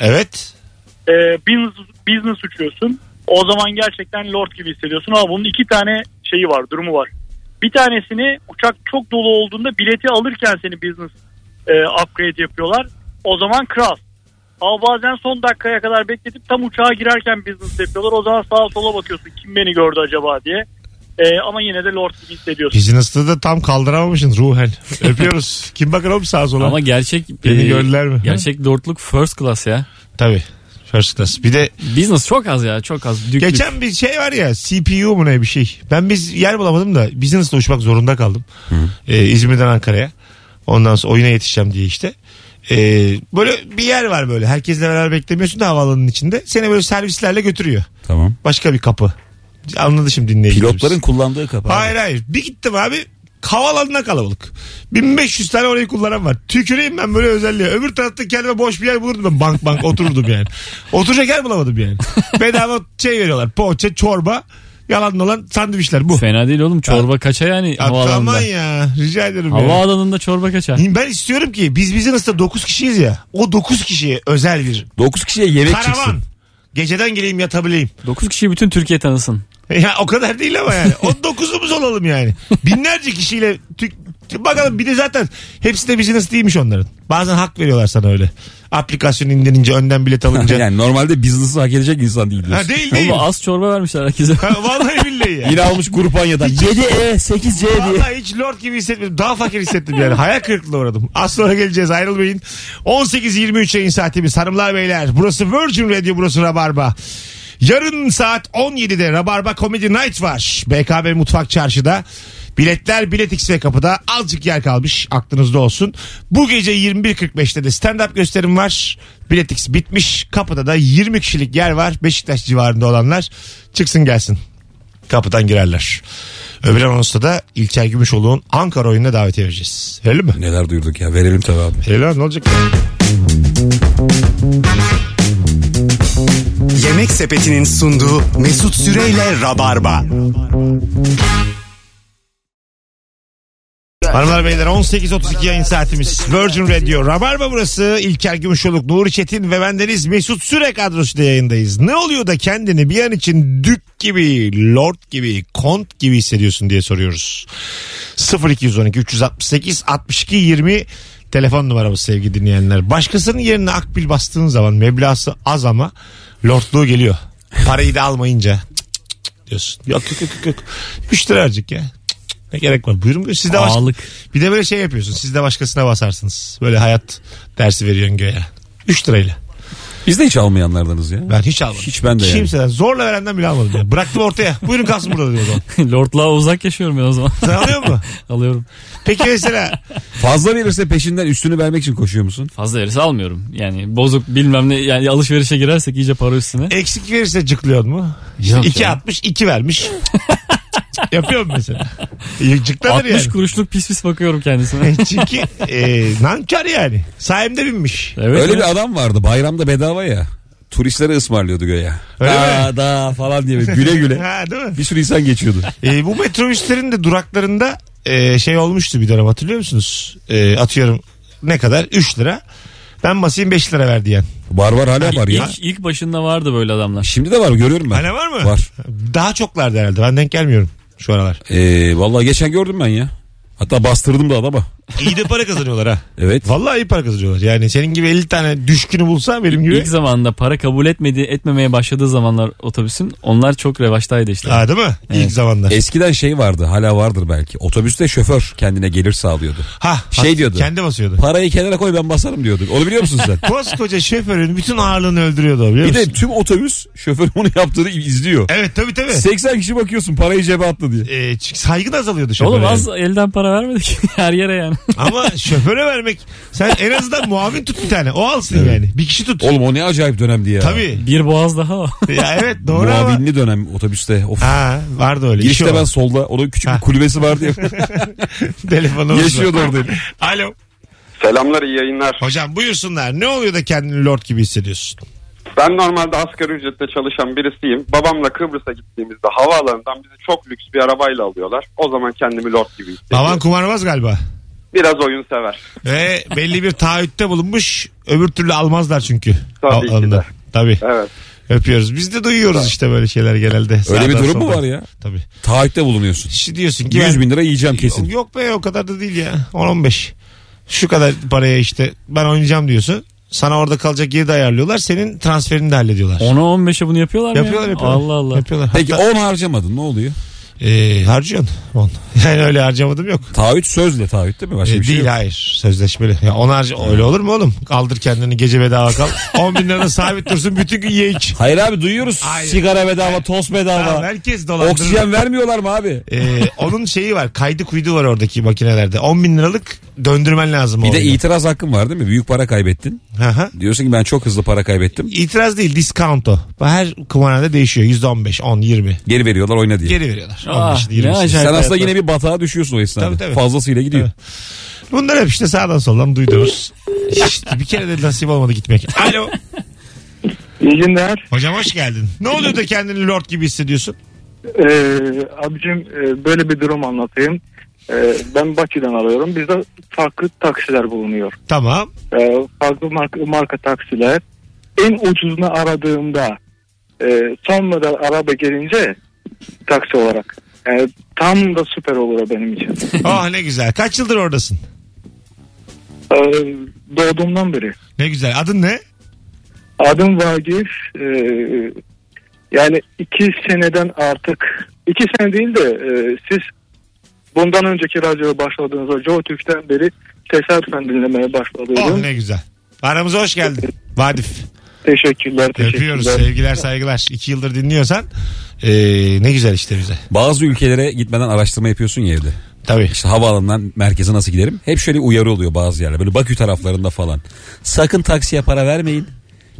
[SPEAKER 2] Evet.
[SPEAKER 5] e, business, business uçuyorsun. O zaman gerçekten lord gibi hissediyorsun ama bunun iki tane şeyi var, durumu var. Bir tanesini uçak çok dolu olduğunda bileti alırken seni business e, upgrade yapıyorlar. O zaman kral. Ama bazen son dakikaya kadar bekletip tam uçağa girerken business yapıyorlar. O zaman sağa sola bakıyorsun kim beni gördü acaba diye. E, ama yine de lord gibi hissediyorsun.
[SPEAKER 2] Business'ta da tam kaldıramamışsın ruhen. Öpüyoruz. Kim bakar oğlum sağa sola?
[SPEAKER 3] Ama gerçek e,
[SPEAKER 2] Beni gördüler mi?
[SPEAKER 3] Gerçek lordluk first class ya.
[SPEAKER 2] Tabii. First class. Bir de
[SPEAKER 3] Business çok az ya çok az. Düklük.
[SPEAKER 2] geçen bir şey var ya CPU mu ne bir şey. Ben biz yer bulamadım da business'la uçmak zorunda kaldım. Ee, İzmir'den Ankara'ya. Ondan sonra oyuna yetişeceğim diye işte. Ee, böyle bir yer var böyle. Herkesle beraber beklemiyorsun da havaalanının içinde. Seni böyle servislerle götürüyor.
[SPEAKER 4] Tamam.
[SPEAKER 2] Başka bir kapı. Anladı şimdi dinleyicilerimiz.
[SPEAKER 4] Pilotların kullandığı kapağı.
[SPEAKER 2] Hayır hayır. Bir gittim abi havalanına kalabalık. 1500 tane orayı kullanan var. Tüküreyim ben böyle özelliğe. Öbür tarafta kendime boş bir yer bulurdum ben. Bank bank otururdum yani. Oturacak yer bulamadım yani. Bedava şey veriyorlar. Poğaça, çorba, yalan olan sandviçler bu.
[SPEAKER 3] Fena değil oğlum çorba kaça yani havaalanında.
[SPEAKER 2] Aman ya. Rica ederim ya.
[SPEAKER 3] Havaalanında çorba kaça.
[SPEAKER 2] Ben istiyorum ki biz bizim da 9 kişiyiz ya. O 9 kişiye özel bir
[SPEAKER 4] 9 kişiye yemek
[SPEAKER 2] karavan.
[SPEAKER 4] çıksın.
[SPEAKER 2] Geceden geleyim yatabileyim.
[SPEAKER 3] 9 kişiyi bütün Türkiye tanısın.
[SPEAKER 2] Ya o kadar değil ama yani. O dokuzumuz olalım yani. Binlerce kişiyle tük- bakalım bir de zaten hepsi de business değilmiş onların. Bazen hak veriyorlar sana öyle. Aplikasyonu indirince önden bilet alınca.
[SPEAKER 4] Yani normalde business'ı hak edecek insan değil diyorsun.
[SPEAKER 2] ha, değil değil.
[SPEAKER 3] Ama az çorba vermişler herkese. e,
[SPEAKER 2] Ha, vallahi billahi ya.
[SPEAKER 4] Yine almış kurbanyadan. 7E 8C diye.
[SPEAKER 2] Vallahi hiç lord gibi hissetmedim. Daha fakir hissettim yani. Hayal kırıklığına uğradım. Az sonra geleceğiz ayrılmayın. 18.23 yayın saatimiz. Hanımlar beyler burası Virgin Radio burası Rabarba. Yarın saat 17'de Rabarba Comedy Night var. BKB Mutfak Çarşı'da. Biletler Bilet X ve kapıda azıcık yer kalmış aklınızda olsun. Bu gece 21.45'te de stand-up gösterim var. Bilet X bitmiş kapıda da 20 kişilik yer var. Beşiktaş civarında olanlar çıksın gelsin kapıdan girerler. Öbür anonsta da İlker Gümüşoğlu'nun Ankara oyununa davetiye vereceğiz. Verelim mi?
[SPEAKER 4] Neler duyurduk ya verelim tabii abi.
[SPEAKER 2] Verelim abi, ne olacak?
[SPEAKER 1] Yemek Sepeti'nin sunduğu Mesut Süreyle Rabarba.
[SPEAKER 2] Hanımlar beyler 18.32 yayın saatimiz. Virgin Radio Rabarba burası. İlker Gümüşoluk, Nuri Çetin ve bendeniz Mesut Süre kadrosuyla yayındayız. Ne oluyor da kendini bir an için dük gibi, lord gibi, kont gibi hissediyorsun diye soruyoruz. 0212 368 62 20 telefon numaramız sevgili dinleyenler. Başkasının yerine akbil bastığın zaman meblası az ama lordluğu geliyor. Parayı da almayınca cık cık cık diyorsun. Yok yok yok yok, yok. 3 lira harcık ya. Cık cık, Ne gerek var? Buyurun buyurun. Siz de baş-
[SPEAKER 3] Ağalık.
[SPEAKER 2] bir de böyle şey yapıyorsun. Siz de başkasına basarsınız. Böyle hayat dersi veriyorsun göğe. 3 lirayla.
[SPEAKER 4] Biz de hiç almayanlardanız ya.
[SPEAKER 2] Ben hiç almadım.
[SPEAKER 4] Hiç ben de yani.
[SPEAKER 2] Kimseden. Zorla verenden bile almadım. Yani. Bıraktım ortaya. Buyurun kalsın burada diyor o zaman.
[SPEAKER 3] Lordluğa uzak yaşıyorum ben o zaman.
[SPEAKER 2] Sen alıyor mu?
[SPEAKER 3] Alıyorum.
[SPEAKER 2] Peki mesela
[SPEAKER 4] Fazla verirse peşinden üstünü vermek için koşuyor musun?
[SPEAKER 3] Fazla verirse almıyorum. Yani bozuk bilmem ne yani alışverişe
[SPEAKER 2] E,
[SPEAKER 3] girersek iyice para üstüne.
[SPEAKER 2] eksik verirse cıklıyor mu?
[SPEAKER 3] Yok
[SPEAKER 2] İşte 2
[SPEAKER 3] ya.
[SPEAKER 2] atmış, 2 vermiş. Yapıyorum mesela. Yıcıklanır
[SPEAKER 3] 60
[SPEAKER 2] yani. E,
[SPEAKER 3] kuruşluk pis pis bakıyorum kendisine.
[SPEAKER 2] Çünkü e, nankar yani. Sayemde binmiş.
[SPEAKER 3] Evet,
[SPEAKER 4] Öyle
[SPEAKER 3] evet.
[SPEAKER 4] bir adam vardı bayramda bedava ya. Turistlere ısmarlıyordu göya.
[SPEAKER 2] Öyle
[SPEAKER 4] da da falan diye böyle güle güle.
[SPEAKER 2] Ha değil mi?
[SPEAKER 4] Bir sürü insan geçiyordu.
[SPEAKER 2] E, bu metrobüslerin de duraklarında e, şey olmuştu bir dönem hatırlıyor musunuz? E, atıyorum ne kadar? 3 lira. Ben basayım 5 lira ver diyen.
[SPEAKER 4] Barbar hala var ya.
[SPEAKER 3] İlk, ilk başında vardı böyle adamlar.
[SPEAKER 4] Şimdi de var görüyorum ben.
[SPEAKER 2] Hala var mı?
[SPEAKER 4] Var.
[SPEAKER 2] Daha çoklardı herhalde. Ben denk gelmiyorum şu aralar.
[SPEAKER 4] Ee, vallahi geçen gördüm ben ya. Hatta bastırdım da adama.
[SPEAKER 2] İyi de para kazanıyorlar ha.
[SPEAKER 4] Evet.
[SPEAKER 2] Vallahi iyi para kazanıyorlar. Yani senin gibi 50 tane düşkünü bulsa benim gibi.
[SPEAKER 3] İlk zamanında para kabul etmedi, etmemeye başladığı zamanlar otobüsün onlar çok revaçtaydı işte.
[SPEAKER 2] Ha değil mi? İlk zamanda.
[SPEAKER 4] Eskiden şey vardı hala vardır belki. Otobüste şoför kendine gelir sağlıyordu.
[SPEAKER 2] Ha,
[SPEAKER 4] Şey
[SPEAKER 2] hat-
[SPEAKER 4] diyordu.
[SPEAKER 2] Kendi basıyordu.
[SPEAKER 4] Parayı kenara koy ben basarım diyordu. Onu biliyor musun sen?
[SPEAKER 2] Koskoca şoförün bütün ağırlığını öldürüyordu o biliyor
[SPEAKER 4] Bir
[SPEAKER 2] musun?
[SPEAKER 4] de tüm otobüs şoför onu yaptığını izliyor.
[SPEAKER 2] Evet tabii tabii.
[SPEAKER 4] 80 kişi bakıyorsun parayı cebe attı diye.
[SPEAKER 2] Ee, çünkü saygın azalıyordu şoföre.
[SPEAKER 3] Oğlum
[SPEAKER 2] yani.
[SPEAKER 3] az elden para vermedik her yere yani.
[SPEAKER 2] Ama şoföre vermek sen en azından muavin tut bir tane. O alsın yani. Bir kişi tut.
[SPEAKER 4] Oğlum o ne acayip dönemdi ya.
[SPEAKER 2] Tabii.
[SPEAKER 3] Bir boğaz daha var.
[SPEAKER 2] Ya evet doğru ama.
[SPEAKER 4] Muavinli dönem otobüste. Of.
[SPEAKER 2] Ha vardı öyle. İşi
[SPEAKER 4] Girişte
[SPEAKER 2] o.
[SPEAKER 4] ben solda. Onun küçük
[SPEAKER 2] Ha.
[SPEAKER 4] bir kulübesi vardı ya.
[SPEAKER 2] Telefonumuz var.
[SPEAKER 4] Yaşıyordu orada.
[SPEAKER 2] Alo.
[SPEAKER 6] Selamlar iyi yayınlar.
[SPEAKER 2] Hocam buyursunlar. Ne oluyor da kendini lord gibi hissediyorsun?
[SPEAKER 6] Ben normalde asgari ücretle çalışan birisiyim. Babamla Kıbrıs'a gittiğimizde havaalanından bizi çok lüks bir arabayla alıyorlar. O zaman kendimi lord gibi hissediyorum.
[SPEAKER 2] Baban kumarbaz galiba.
[SPEAKER 6] Biraz oyun sever.
[SPEAKER 2] Ve belli bir taahhütte bulunmuş. Öbür türlü almazlar çünkü.
[SPEAKER 6] Tabii
[SPEAKER 2] Al-
[SPEAKER 6] ki de.
[SPEAKER 2] alından. Tabii.
[SPEAKER 6] Evet.
[SPEAKER 2] Öpüyoruz. Biz de duyuyoruz işte böyle şeyler genelde. Sağdan
[SPEAKER 4] bir durum mu
[SPEAKER 2] soldan.
[SPEAKER 4] var ya?
[SPEAKER 2] Tabii.
[SPEAKER 4] Taahhütte bulunuyorsun.
[SPEAKER 2] Şimdi diyorsun ki
[SPEAKER 4] 100
[SPEAKER 2] ben-
[SPEAKER 4] bin lira yiyeceğim kesin.
[SPEAKER 2] Yok be o kadar da değil ya. 10-15. Şu kadar paraya işte ben oynayacağım diyorsun. Sana orada kalacak yeri de ayarlıyorlar. Senin transferini de hallediyorlar.
[SPEAKER 3] 10'a 15'e bunu yapıyorlar mı? ya?
[SPEAKER 2] Yapıyorlar yapıyorlar.
[SPEAKER 3] Allah Allah.
[SPEAKER 2] Yapıyorlar.
[SPEAKER 4] Peki
[SPEAKER 2] Hatta,
[SPEAKER 4] 10 harcamadın ne oluyor?
[SPEAKER 2] e, harcıyorsun. On. Yani öyle harcamadım yok.
[SPEAKER 4] Taahhüt sözle taahhüt değil mi?
[SPEAKER 2] E,
[SPEAKER 4] Başka bir şey
[SPEAKER 2] değil
[SPEAKER 4] yok.
[SPEAKER 2] hayır sözleşmeli. Ya on harca öyle olur mu oğlum? Kaldır kendini gece bedava kal. 10 bin lira sabit dursun bütün gün ye iç.
[SPEAKER 4] Hayır abi duyuyoruz.
[SPEAKER 2] Hayır.
[SPEAKER 4] Sigara bedava, toz
[SPEAKER 2] Tamam,
[SPEAKER 4] bedava.
[SPEAKER 2] herkes dolandırır.
[SPEAKER 4] Oksijen vermiyorlar mı abi?
[SPEAKER 2] E, onun şeyi var kaydı kuydu var oradaki makinelerde. 10 bin liralık döndürmen lazım.
[SPEAKER 4] Bir
[SPEAKER 2] o
[SPEAKER 4] de
[SPEAKER 2] oyunu.
[SPEAKER 4] itiraz hakkın var değil mi? Büyük para kaybettin.
[SPEAKER 2] Hı hı.
[SPEAKER 4] Diyorsun ki ben çok hızlı para kaybettim.
[SPEAKER 2] İtiraz değil diskanto. Her kumarhanede değişiyor. %15, 10, 20.
[SPEAKER 4] Geri veriyorlar oyna diye.
[SPEAKER 2] Geri veriyorlar.
[SPEAKER 3] Ah,
[SPEAKER 2] 15'ini,
[SPEAKER 3] ne
[SPEAKER 2] 20'sini.
[SPEAKER 3] acayip
[SPEAKER 4] Sen aslında
[SPEAKER 3] hayatlar.
[SPEAKER 4] yine bir batağa düşüyorsun o esnada.
[SPEAKER 2] Tabii, tabii.
[SPEAKER 4] Fazlasıyla gidiyor.
[SPEAKER 2] Bunlar hep işte sağdan soldan duyduğumuz. İşte bir kere de nasip olmadı gitmek. Alo.
[SPEAKER 5] İyi günler.
[SPEAKER 2] Hocam hoş geldin. Ne oluyor da kendini lord gibi hissediyorsun?
[SPEAKER 5] Ee, abicim e, böyle bir durum anlatayım. Ee, ben Bakü'den alıyorum. Bizde farklı taksiler bulunuyor.
[SPEAKER 2] Tamam.
[SPEAKER 5] Ee, farklı marka, marka taksiler. En ucuzunu aradığımda e, son model araba gelince taksi olarak. Yani tam da süper olur o benim için.
[SPEAKER 2] Ah ne güzel. Kaç yıldır oradasın?
[SPEAKER 5] Ee, doğduğumdan beri.
[SPEAKER 2] Ne güzel. Adın ne?
[SPEAKER 5] Adım Vagif. Ee, yani iki seneden artık iki sene değil de e, siz bundan önceki radyoya başladığınızda Joe Türk'ten beri tesadüfen dinlemeye
[SPEAKER 2] Oh
[SPEAKER 5] başladım.
[SPEAKER 2] ne güzel. Aramıza hoş geldin. Vadif.
[SPEAKER 5] Teşekkürler.
[SPEAKER 2] Öpüyoruz.
[SPEAKER 5] teşekkürler.
[SPEAKER 2] Sevgiler saygılar. İki yıldır dinliyorsan ee, ne güzel işte bize.
[SPEAKER 4] Bazı ülkelere gitmeden araştırma yapıyorsun ya evde.
[SPEAKER 2] Tabii.
[SPEAKER 4] İşte havaalanından merkeze nasıl giderim? Hep şöyle uyarı oluyor bazı yerlerde. Böyle Bakü taraflarında falan. Sakın taksiye para vermeyin.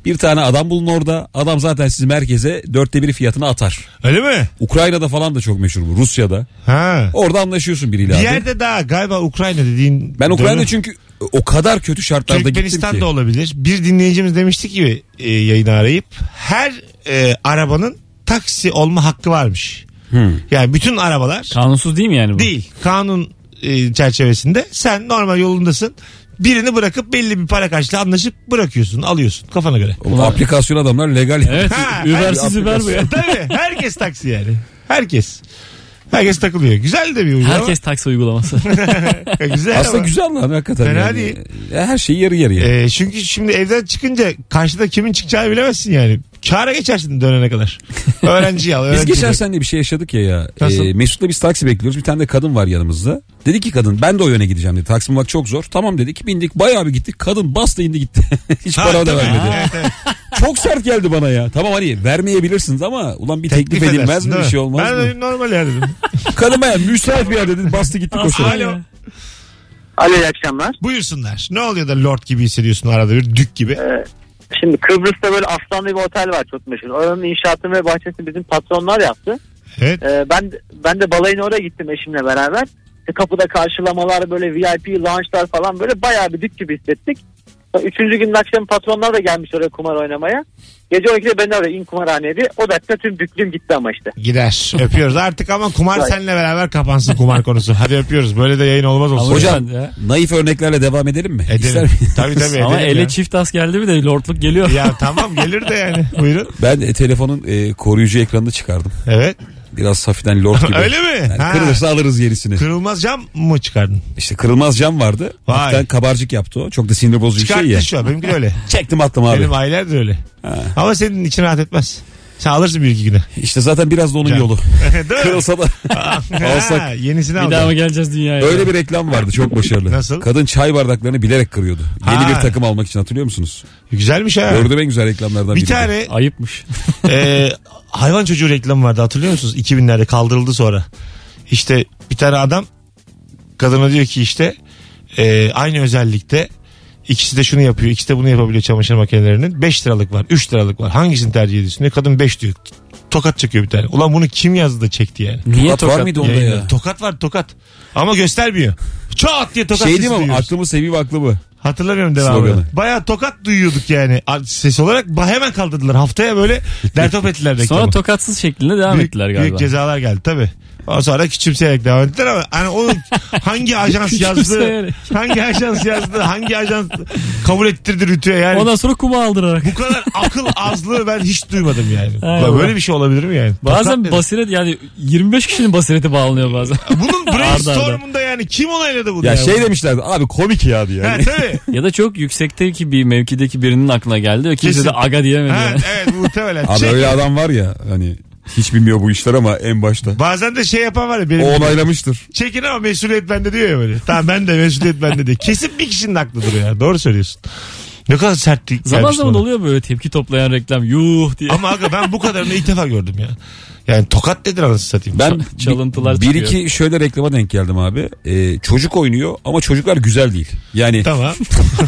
[SPEAKER 4] Bir tane adam bulun orada. Adam zaten sizi merkeze dörtte biri fiyatına atar.
[SPEAKER 2] Öyle mi?
[SPEAKER 4] Ukrayna'da falan da çok meşhur bu. Rusya'da.
[SPEAKER 2] Ha.
[SPEAKER 4] Orada anlaşıyorsun biriyle
[SPEAKER 2] Bir
[SPEAKER 4] abi.
[SPEAKER 2] yerde daha galiba Ukrayna dediğin.
[SPEAKER 4] Ben Ukrayna
[SPEAKER 2] dönüm-
[SPEAKER 4] çünkü o kadar kötü şartlarda gittim
[SPEAKER 2] Türkmenistan
[SPEAKER 4] ki.
[SPEAKER 2] da olabilir. Bir dinleyicimiz demişti ki e, yayını arayıp her e, arabanın taksi olma hakkı varmış.
[SPEAKER 4] Hmm.
[SPEAKER 2] Yani bütün arabalar
[SPEAKER 3] Kanunsuz değil mi yani bu?
[SPEAKER 2] değil kanun e, çerçevesinde sen normal yolundasın. Birini bırakıp belli bir para karşılığı anlaşıp bırakıyorsun alıyorsun kafana göre.
[SPEAKER 4] O aplikasyon adamlar legal.
[SPEAKER 3] Evet.
[SPEAKER 2] Ha,
[SPEAKER 3] Uber'siz
[SPEAKER 2] her-
[SPEAKER 3] Uber bu ya.
[SPEAKER 2] Tabii herkes taksi yani. Herkes. Herkes takılıyor. Güzel de bir uygulama. E,
[SPEAKER 3] Herkes taksi uygulaması.
[SPEAKER 2] güzel
[SPEAKER 4] Aslında
[SPEAKER 2] ama.
[SPEAKER 4] güzel lan hakikaten.
[SPEAKER 2] Fena
[SPEAKER 4] yani.
[SPEAKER 2] değil.
[SPEAKER 4] Her şey yarı yarıya.
[SPEAKER 2] E, çünkü şimdi evden çıkınca karşıda kimin çıkacağını bilemezsin yani. Kâra geçersin dönene kadar. Öğrenci al.
[SPEAKER 4] Biz
[SPEAKER 2] Öğrenci
[SPEAKER 4] geçen
[SPEAKER 2] bırak.
[SPEAKER 4] sene bir şey yaşadık ya ya.
[SPEAKER 2] Nasıl?
[SPEAKER 4] Ee, Mesut'la biz taksi bekliyoruz. Bir tane de kadın var yanımızda. Dedi ki kadın ben de o yöne gideceğim dedi. Taksi bulmak çok zor. Tamam dedik bindik bayağı bir gittik. Kadın bastı indi gitti. Hiç
[SPEAKER 2] Ha,
[SPEAKER 4] para da
[SPEAKER 2] tabii.
[SPEAKER 4] vermedi.
[SPEAKER 2] Evet, evet.
[SPEAKER 4] çok sert geldi bana ya. Tamam hani vermeyebilirsiniz ama ulan bir teklif,
[SPEAKER 2] edersin,
[SPEAKER 4] edilmez mi
[SPEAKER 2] değil
[SPEAKER 4] bir
[SPEAKER 2] mi?
[SPEAKER 4] şey olmaz
[SPEAKER 2] ben
[SPEAKER 4] mı?
[SPEAKER 2] dedim normal yani dedim.
[SPEAKER 4] Kadın bayağı müsait bir yer dedi. Bastı gitti koşarak.
[SPEAKER 2] Alo.
[SPEAKER 7] Alo iyi akşamlar.
[SPEAKER 2] Buyursunlar. Ne oluyor da lord gibi hissediyorsun arada bir dük gibi.
[SPEAKER 7] Şimdi Kıbrıs'ta böyle aslanlı bir otel var çok meşhur. Oranın inşaatını ve bahçesini bizim patronlar yaptı.
[SPEAKER 2] Evet.
[SPEAKER 7] Ee, ben ben de balayına oraya gittim eşimle beraber. İşte kapıda karşılamalar böyle VIP lounge'lar falan böyle bayağı bir dük gibi hissettik. Üçüncü günün akşamı patronlar da gelmiş oraya kumar oynamaya. Gece 12'de beni arıyor in kumarhaneye diye. O dakika tüm büklüğüm gitti ama işte.
[SPEAKER 2] Gider. Öpüyoruz artık ama kumar
[SPEAKER 7] Vay.
[SPEAKER 2] seninle beraber kapansın kumar konusu. Hadi öpüyoruz. Böyle de yayın olmaz olsun.
[SPEAKER 4] Hocam,
[SPEAKER 3] Ama ya.
[SPEAKER 4] Naif örneklerle devam edelim mi? İster
[SPEAKER 2] Edelim.
[SPEAKER 4] mi?
[SPEAKER 2] tabii tabii
[SPEAKER 3] Ama
[SPEAKER 2] edelim
[SPEAKER 3] ele
[SPEAKER 2] ya.
[SPEAKER 3] çift as geldi mi de lordluk geliyor.
[SPEAKER 2] Ya tamam gelir de yani. Buyurun.
[SPEAKER 4] Ben e, telefonun e, koruyucu ekranını çıkardım.
[SPEAKER 2] Evet.
[SPEAKER 4] Biraz hafiften lord gibi.
[SPEAKER 2] Öyle mi?
[SPEAKER 4] Yani
[SPEAKER 2] Ha.
[SPEAKER 4] kırılırsa alırız yenisini.
[SPEAKER 2] Kırılmaz cam mı çıkardın?
[SPEAKER 4] İşte kırılmaz cam vardı.
[SPEAKER 2] Vay.
[SPEAKER 4] Hafiften kabarcık yaptı o. Çok da sinir bozucu bir
[SPEAKER 2] Çıkarttı
[SPEAKER 4] şey ya.
[SPEAKER 2] şu an. Benimki de öyle.
[SPEAKER 4] Çektim attım abi.
[SPEAKER 2] Benim aileler de öyle. Ama senin için rahat etmez. Sen alırsın bir iki güne.
[SPEAKER 4] İşte zaten biraz da onun
[SPEAKER 2] Cam.
[SPEAKER 4] yolu.
[SPEAKER 2] Değil mi?
[SPEAKER 4] Kırılsa da
[SPEAKER 2] Ha,
[SPEAKER 4] alsak.
[SPEAKER 2] yenisini al.
[SPEAKER 3] Bir daha mı geleceğiz dünyaya?
[SPEAKER 4] Öyle bir reklam vardı çok başarılı.
[SPEAKER 2] Nasıl?
[SPEAKER 4] Kadın çay bardaklarını bilerek kırıyordu.
[SPEAKER 2] Ha.
[SPEAKER 4] Yeni bir takım almak için hatırlıyor musunuz?
[SPEAKER 2] Güzelmiş ha.
[SPEAKER 4] Gördüğüm en güzel reklamlardan Şey biri.
[SPEAKER 2] Bir tane
[SPEAKER 3] Ayıpmış.
[SPEAKER 2] Ee, hayvan çocuğu reklamı vardı hatırlıyor musunuz? 2000'lerde kaldırıldı sonra. İşte bir tane adam kadına diyor ki işte e, aynı özellikte ikisi de şunu yapıyor ikisi de bunu yapabiliyor çamaşır makinelerinin. 5 liralık var 3 liralık var hangisini tercih ediyorsun diyor. Kadın 5 diyor. Tokat çekiyor bir tane. Ulan bunu kim yazdı da çekti yani.
[SPEAKER 3] Niye
[SPEAKER 4] Tokat var
[SPEAKER 3] tokat?
[SPEAKER 4] mıydı onda
[SPEAKER 2] Yayında.
[SPEAKER 4] ya?
[SPEAKER 2] Tokat var tokat. Ama göstermiyor. Çat diye tokat
[SPEAKER 4] Şey
[SPEAKER 2] sesi
[SPEAKER 4] değil mi?
[SPEAKER 2] duyuyoruz.
[SPEAKER 4] Aklımı seveyim aklımı.
[SPEAKER 2] Hatırlamıyorum devamını.
[SPEAKER 4] Sloganı.
[SPEAKER 2] Bayağı tokat duyuyorduk yani. A- Ses olarak ba- hemen kaldırdılar. Haftaya böyle dertop ettiler reklamı.
[SPEAKER 3] Sonra tokatsız şeklinde devam
[SPEAKER 2] büyük,
[SPEAKER 3] ettiler galiba.
[SPEAKER 2] Büyük cezalar geldi tabi. Sonra küçümseyerek devam ettiler ama hani o hangi ajans yazdı,
[SPEAKER 3] Küçümseyerek.
[SPEAKER 2] hangi ajans yazdı, hangi ajans kabul ettirdi rütüye yani.
[SPEAKER 3] Ondan sonra kuma aldırarak.
[SPEAKER 2] Bu kadar akıl azlığı ben hiç duymadım yani.
[SPEAKER 3] Aynen.
[SPEAKER 2] Böyle bir şey olabilir mi yani? Tokat
[SPEAKER 3] Bazen
[SPEAKER 2] dedi.
[SPEAKER 3] basiret yani 25 kişinin basireti bağlanıyor bazen.
[SPEAKER 2] Bunun brainstormunda yani kim onayladı bunu?
[SPEAKER 4] Ya
[SPEAKER 2] yani?
[SPEAKER 4] şey demişlerdi abi komik ya diye. Hani
[SPEAKER 2] Ha, tabii.
[SPEAKER 3] ya da çok yüksekteki bir mevkideki birinin aklına geldi. O kimse
[SPEAKER 2] Kesin.
[SPEAKER 3] de aga diyemedi.
[SPEAKER 2] ha,
[SPEAKER 3] yani.
[SPEAKER 2] evet muhtemelen.
[SPEAKER 4] Abi
[SPEAKER 2] Şey,
[SPEAKER 4] öyle adam var ya hani hiç bilmiyor bu işler ama en başta.
[SPEAKER 2] Bazen de şey yapan var ya benim
[SPEAKER 4] O onaylamıştır.
[SPEAKER 2] çekin ama mesuliyet bende diyor ya böyle. Tamam ben de mesuliyet bende diyor. Kesin bir kişinin aklıdır ya. Doğru söylüyorsun. Ne kadar sert gelmiş
[SPEAKER 3] Zaman zaman
[SPEAKER 2] bana.
[SPEAKER 3] oluyor böyle tepki toplayan reklam yuh diye.
[SPEAKER 2] Ama aga ben bu kadarını ilk defa gördüm ya. Yani tokat nedir anasını satayım.
[SPEAKER 4] Ben
[SPEAKER 3] Ç- çalıntılar
[SPEAKER 4] bi- bir
[SPEAKER 3] çıkıyor.
[SPEAKER 4] iki şöyle reklama denk geldim abi. Ee, çocuk oynuyor ama çocuklar güzel değil. Yani
[SPEAKER 2] Tamam.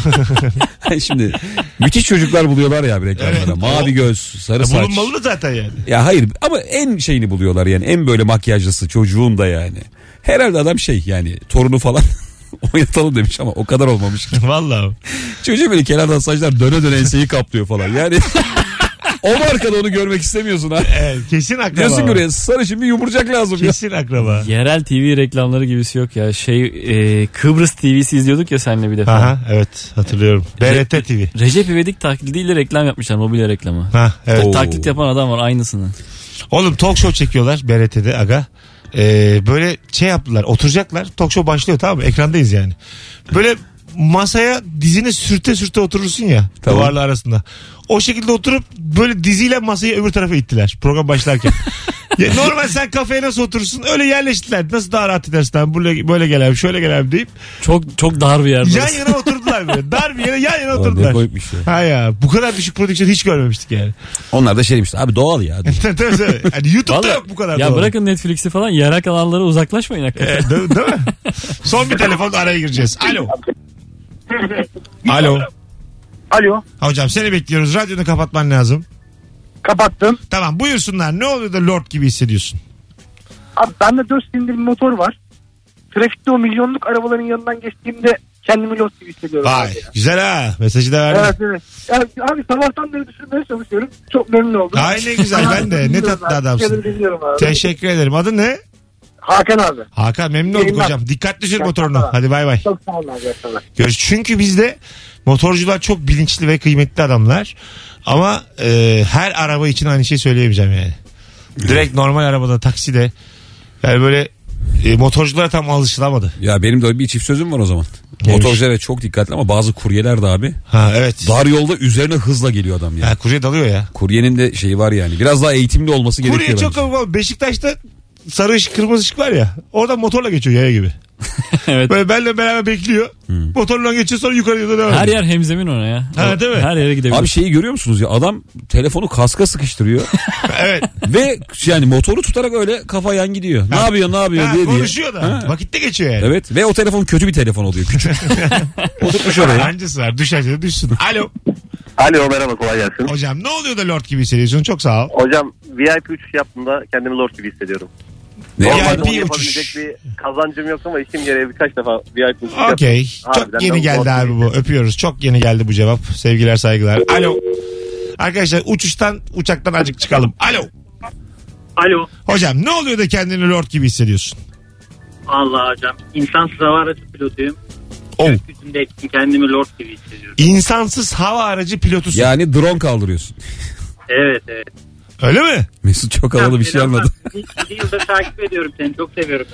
[SPEAKER 4] şimdi müthiş çocuklar buluyorlar ya abi reklamlara.
[SPEAKER 2] Evet.
[SPEAKER 4] Mavi göz, sarı
[SPEAKER 2] Ya
[SPEAKER 4] saç.
[SPEAKER 2] Bulunmalı da zaten yani.
[SPEAKER 4] Ya hayır ama en şeyini buluyorlar yani en böyle makyajlısı çocuğun da yani. Herhalde adam şey yani torunu falan oynatalım demiş ama o kadar olmamış.
[SPEAKER 2] Vallahi.
[SPEAKER 4] Çocuğu böyle kenardan saçlar döne döne enseyi kaplıyor falan. Yani o markada onu görmek istemiyorsun ha.
[SPEAKER 2] Evet, kesin akraba.
[SPEAKER 4] Diyorsun ki
[SPEAKER 2] var.
[SPEAKER 4] oraya sarı şimdi yumurcak lazım ya.
[SPEAKER 2] Kesin akraba.
[SPEAKER 3] Yerel TV reklamları gibisi yok ya. Şey e, Kıbrıs TV'si izliyorduk ya seninle bir defa.
[SPEAKER 2] Aha, evet hatırlıyorum. BRT TV.
[SPEAKER 3] Recep İvedik taklidiyle reklam yapmışlar mobilya reklamı.
[SPEAKER 2] Ha, evet.
[SPEAKER 4] Oo.
[SPEAKER 3] Taklit yapan adam var aynısını.
[SPEAKER 2] Oğlum talk show çekiyorlar BRT'de aga. Ee, böyle şey yaptılar oturacaklar talk show başlıyor tamam mı ekrandayız yani. Böyle masaya dizini sürte sürte oturursun ya
[SPEAKER 4] Tamam.
[SPEAKER 2] duvarla arasında. O şekilde oturup böyle diziyle masayı öbür tarafa ittiler program başlarken. Ya normal sen kafeye nasıl oturursun öyle yerleştiler. Nasıl daha rahat edersin abi böyle, böyle gel abi şöyle gel abi deyip
[SPEAKER 3] Çok çok dar bir yerde.
[SPEAKER 2] yan
[SPEAKER 3] orası.
[SPEAKER 2] yana oturdular böyle. Dar bir yere yan yana
[SPEAKER 4] Ulan ne
[SPEAKER 2] oturdular.
[SPEAKER 4] koymuş ya.
[SPEAKER 2] Ha ya bu kadar düşük prodüksiyon hiç görmemiştik yani.
[SPEAKER 4] Onlar da şey demişti abi doğal ya.
[SPEAKER 2] Tabii, tabii, tabii. Yani YouTube'da
[SPEAKER 3] Vallahi-
[SPEAKER 2] yok bu kadar.
[SPEAKER 3] Ya
[SPEAKER 2] doğal.
[SPEAKER 3] bırakın Netflix'i falan yerel kanallara uzaklaşmayın hakikaten.
[SPEAKER 2] E, değil, değil mi? Son bir telefon araya gireceğiz. Alo. Alo.
[SPEAKER 7] Alo
[SPEAKER 2] Hocam seni bekliyoruz. Radyonu kapatman lazım.
[SPEAKER 7] kapattım.
[SPEAKER 2] Tamam buyursunlar. Ne oluyor da lord gibi hissediyorsun?
[SPEAKER 7] Abi bende 4 silindir bir motor var. Trafikte o milyonluk arabaların yanından geçtiğimde kendimi los gibi hissediyorum.
[SPEAKER 2] Vay
[SPEAKER 7] abi ya.
[SPEAKER 2] güzel ha. Mesajı da verdin.
[SPEAKER 7] Evet evet. Yani abi sabahtan beri düşünmeye çalışıyorum. Çok memnun oldum.
[SPEAKER 2] Ay ne güzel ben de. Ne tatlı adamsın.
[SPEAKER 7] Teşekkür.
[SPEAKER 2] Teşekkür ederim. Adın ne?
[SPEAKER 7] Hakan abi.
[SPEAKER 2] Hakan memnun olduk
[SPEAKER 7] Yayınlar.
[SPEAKER 2] hocam. Dikkatli sür
[SPEAKER 7] Yayınlar.
[SPEAKER 2] motorunu. Hadi bay bay.
[SPEAKER 7] Çok sağ olun abi.
[SPEAKER 2] Görüş. Çünkü bizde motorcular çok bilinçli ve kıymetli adamlar. Ama e, her araba için aynı şeyi söyleyemeyeceğim yani. Direkt normal arabada, takside. Yani böyle e, motorculara tam alışılamadı.
[SPEAKER 4] Ya benim de bir çift sözüm var o zaman.
[SPEAKER 2] Neymiş?
[SPEAKER 4] Motorculara çok dikkatli ama bazı kuryeler de abi.
[SPEAKER 2] Ha evet.
[SPEAKER 4] Dar yolda üzerine hızla geliyor adam ya.
[SPEAKER 2] Ha, kurye dalıyor ya.
[SPEAKER 4] Kuryenin de şeyi var yani. Biraz daha eğitimli olması gerekiyor.
[SPEAKER 2] Kurye çok
[SPEAKER 4] bence.
[SPEAKER 2] komik oğlum. Beşiktaş'ta sarı ışık kırmızı ışık var ya. Orada motorla geçiyor yaya gibi.
[SPEAKER 3] evet.
[SPEAKER 2] Böyle benle beraber bekliyor.
[SPEAKER 4] Hmm.
[SPEAKER 2] Motorla geçiyor sonra yukarı yukarı devam
[SPEAKER 3] Her
[SPEAKER 2] ediyor.
[SPEAKER 3] yer hemzemin ona ya.
[SPEAKER 2] Ha, değil mi?
[SPEAKER 3] Her yere gidebilir.
[SPEAKER 4] Abi şeyi görüyor musunuz ya adam telefonu kaska sıkıştırıyor
[SPEAKER 2] Evet.
[SPEAKER 4] ve yani motoru tutarak öyle kafa yan gidiyor. Ne yapıyor ne yapıyor
[SPEAKER 2] Ha,
[SPEAKER 4] diye diye.
[SPEAKER 2] konuşuyor da. Vakitte geçiyor yani.
[SPEAKER 4] Evet ve o telefon kötü bir telefon oluyor küçük. Oturtmuş oraya.
[SPEAKER 2] Hancısı var. Düşerse de düşsün. Alo.
[SPEAKER 7] Alo merhaba kolay gelsin.
[SPEAKER 2] Hocam ne oluyor da lord gibi hissediyorsun? Çok sağ ol.
[SPEAKER 7] Hocam
[SPEAKER 8] VIP uçuş yaptığımda kendimi lord gibi hissediyorum.
[SPEAKER 4] Ne
[SPEAKER 2] Yani
[SPEAKER 4] yapardın?
[SPEAKER 8] Normalde onu
[SPEAKER 2] VIP
[SPEAKER 8] yapabilecek
[SPEAKER 2] uçuş.
[SPEAKER 8] bir kazancım yok ama işim gereği birkaç defa VIP uçuş yaptım.
[SPEAKER 2] Okey. Çok
[SPEAKER 8] Harbiden
[SPEAKER 2] yeni
[SPEAKER 8] de
[SPEAKER 2] geldi
[SPEAKER 8] bu-
[SPEAKER 2] abi bu. Öpüyoruz. Çok yeni geldi bu cevap. Sevgiler saygılar. Alo. Arkadaşlar uçuştan uçaktan acık çıkalım. Alo.
[SPEAKER 9] Alo.
[SPEAKER 2] Hocam ne oluyor da kendini lord gibi hissediyorsun?
[SPEAKER 9] Allah hocam. İnsansız hava aracı pilotuyum.
[SPEAKER 2] Oh.
[SPEAKER 9] Üstündeyken kendimi lord gibi hissediyorum.
[SPEAKER 2] İnsansız hava aracı pilotusun.
[SPEAKER 4] Yani drone kaldırıyorsun.
[SPEAKER 9] Evet evet.
[SPEAKER 2] Öyle mi?
[SPEAKER 4] Mesut çok havalı bir şey
[SPEAKER 9] Selamlar.
[SPEAKER 4] anladı.
[SPEAKER 9] İki- İki yıldır takip ediyorum seni. Çok seviyorum.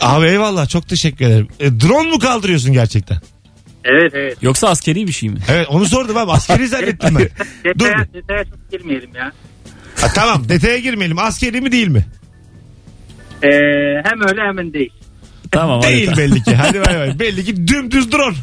[SPEAKER 2] Abi eyvallah çok teşekkür ederim. E, drone mu kaldırıyorsun gerçekten?
[SPEAKER 9] Evet evet.
[SPEAKER 3] Yoksa askeri bir şey mi?
[SPEAKER 2] Evet onu sordum abi askeri zannettim ben. Dur.
[SPEAKER 9] Detaya, detaya çok girmeyelim ya.
[SPEAKER 2] Ha, tamam detaya girmeyelim askeri mi değil mi?
[SPEAKER 9] Ee, hem öyle hem de değil.
[SPEAKER 3] Tamam hadi
[SPEAKER 2] Değil
[SPEAKER 3] tamam.
[SPEAKER 2] belli ki. Hadi bay bay. Belli ki dümdüz drone.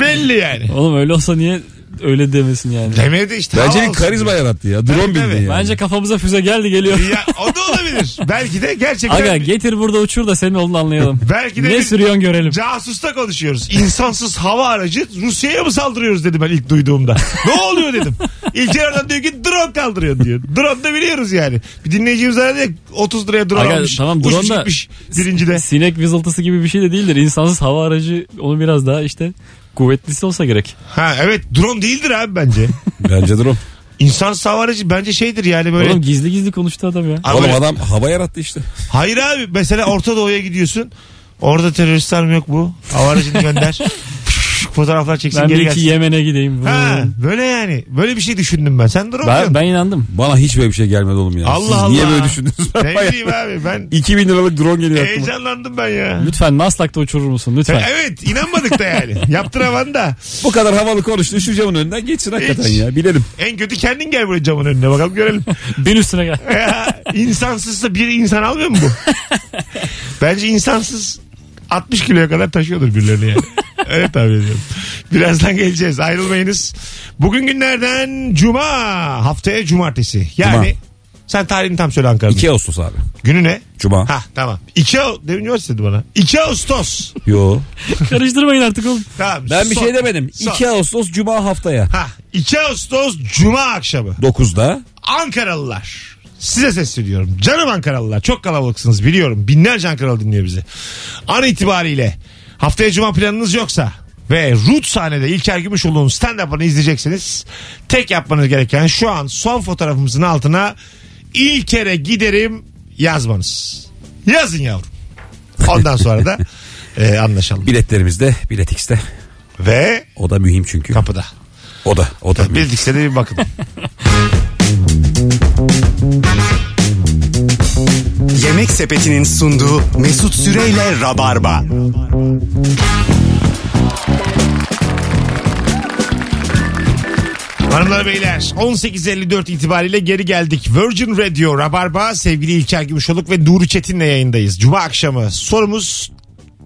[SPEAKER 2] belli yani.
[SPEAKER 3] Oğlum öyle olsa niye öyle demesin yani?
[SPEAKER 2] Demedi işte. hava
[SPEAKER 4] Bence bir
[SPEAKER 2] olsun
[SPEAKER 4] karizma
[SPEAKER 2] diyor.
[SPEAKER 4] yarattı ya. Drone
[SPEAKER 2] Tabii,
[SPEAKER 4] bildin
[SPEAKER 2] tabii.
[SPEAKER 4] yani.
[SPEAKER 3] Bence kafamıza füze geldi geliyor.
[SPEAKER 2] Ya o da olabilir. Belki de gerçekten.
[SPEAKER 3] Aga getir burada uçur da senin olduğunu anlayalım.
[SPEAKER 2] Belki de
[SPEAKER 3] ne
[SPEAKER 2] bir-
[SPEAKER 3] sürüyorsun görelim.
[SPEAKER 2] Casusta konuşuyoruz. İnsansız hava aracı Rusya'ya mı saldırıyoruz dedim ben ilk duyduğumda. ne oluyor dedim. İlker oradan diyor ki drone kaldırıyor diyor. Drone da biliyoruz yani. Bir dinleyicimiz aradı ya, 30 liraya drone
[SPEAKER 3] Aga,
[SPEAKER 2] almış.
[SPEAKER 3] tamam, drone
[SPEAKER 2] uçmuş
[SPEAKER 3] da-
[SPEAKER 2] gitmiş birincide.
[SPEAKER 3] Sinek vızıltısı gibi bir şey de değildir. İnsansız hava aracı onu biraz daha işte kuvvetlisi olsa gerek.
[SPEAKER 2] Ha evet drone değildir abi bence.
[SPEAKER 4] Bence drone.
[SPEAKER 2] İnsansız hava aracı bence şeydir yani böyle.
[SPEAKER 3] Oğlum gizli gizli konuştu adam ya.
[SPEAKER 2] Ha,
[SPEAKER 4] Oğlum
[SPEAKER 2] böyle-
[SPEAKER 4] adam hava yarattı işte.
[SPEAKER 2] Hayır abi mesela Orta Doğu'ya gidiyorsun. Orada teröristler mi yok bu? Hava aracını gönder. Fotoğraflar çeksin
[SPEAKER 3] Ben bir
[SPEAKER 2] geri
[SPEAKER 3] iki
[SPEAKER 2] gelsin.
[SPEAKER 3] Yemen'e gideyim. Hmm.
[SPEAKER 2] Ha, böyle yani. Böyle bir şey düşündüm ben. Sen drone
[SPEAKER 3] Ben,
[SPEAKER 2] diyorsun.
[SPEAKER 3] ben inandım.
[SPEAKER 4] Bana hiç böyle bir şey gelmedi oğlum ya.
[SPEAKER 2] Allah
[SPEAKER 4] Siz
[SPEAKER 2] Allah.
[SPEAKER 4] niye böyle düşündünüz? Ben
[SPEAKER 2] Ne
[SPEAKER 4] bayağı-
[SPEAKER 2] bileyim abi ben
[SPEAKER 4] 2000 liralık drone geliyor aklıma.
[SPEAKER 2] heyecanlandım ben ya.
[SPEAKER 3] Lütfen Maslak'ta uçurur musun lütfen?
[SPEAKER 2] Evet inanmadık da yani. Yaptıraman da.
[SPEAKER 4] Bu kadar havalı konuştun şu camın önünden geçsin hakikaten
[SPEAKER 2] Hiç.
[SPEAKER 4] ya. Bilelim.
[SPEAKER 2] En kötü kendin gel buraya camın önüne bakalım görelim. E,
[SPEAKER 3] Bin üstüne gel.
[SPEAKER 2] Ya, insansızsa bir insan almıyor mu bu? Bence insansız 60 kiloya kadar taşıyordur birilerini yani. Evet tahmin ediyorum. Birazdan geleceğiz ayrılmayınız. Bugün günlerden cuma haftaya cumartesi. Yani
[SPEAKER 4] Cuma.
[SPEAKER 2] sen tarihini tam söyle Ankara'da.
[SPEAKER 4] 2 Ağustos abi.
[SPEAKER 2] Günü ne?
[SPEAKER 4] Cuma.
[SPEAKER 2] Ha tamam. 2 Ağustos. Demin cumartesi dedi bana. 2 Ağustos.
[SPEAKER 4] Yo.
[SPEAKER 3] Karıştırmayın artık oğlum.
[SPEAKER 2] Tamam.
[SPEAKER 4] Ben bir
[SPEAKER 2] son-
[SPEAKER 4] şey demedim.
[SPEAKER 2] son-
[SPEAKER 4] 2 Ağustos Cuma haftaya.
[SPEAKER 2] Ha 2 Ağustos Cuma akşamı
[SPEAKER 4] 9'da.
[SPEAKER 2] Ankaralılar size sesleniyorum. Canım Ankaralılar çok kalabalıksınız biliyorum. Binlerce Ankaralı dinliyor bizi. An itibariyle haftaya Cuma planınız yoksa ve Root sahnede İlker Gümüşoğlu'nun stand-up'ını izleyecekseniz tek yapmanız gereken şu an son fotoğrafımızın altına İlker'e giderim yazmanız. Yazın yavrum. Ondan sonra da e, anlaşalım.
[SPEAKER 4] Biletlerimizde, Bilet X'te.
[SPEAKER 2] Ve
[SPEAKER 4] O da mühim çünkü.
[SPEAKER 2] kapıda.
[SPEAKER 4] O da, o da mühim.
[SPEAKER 2] Bildikse de bir bakın.
[SPEAKER 1] Yemek Sepeti'nin sunduğu Mesut Süreyle Rabarba.
[SPEAKER 2] Hanımlar beyler 18.54 itibariyle geri geldik. Virgin Radio Rabarba sevgili İlker Gümüşoluk ve Nuri Çetin'le yayındayız. Cuma akşamı sorumuz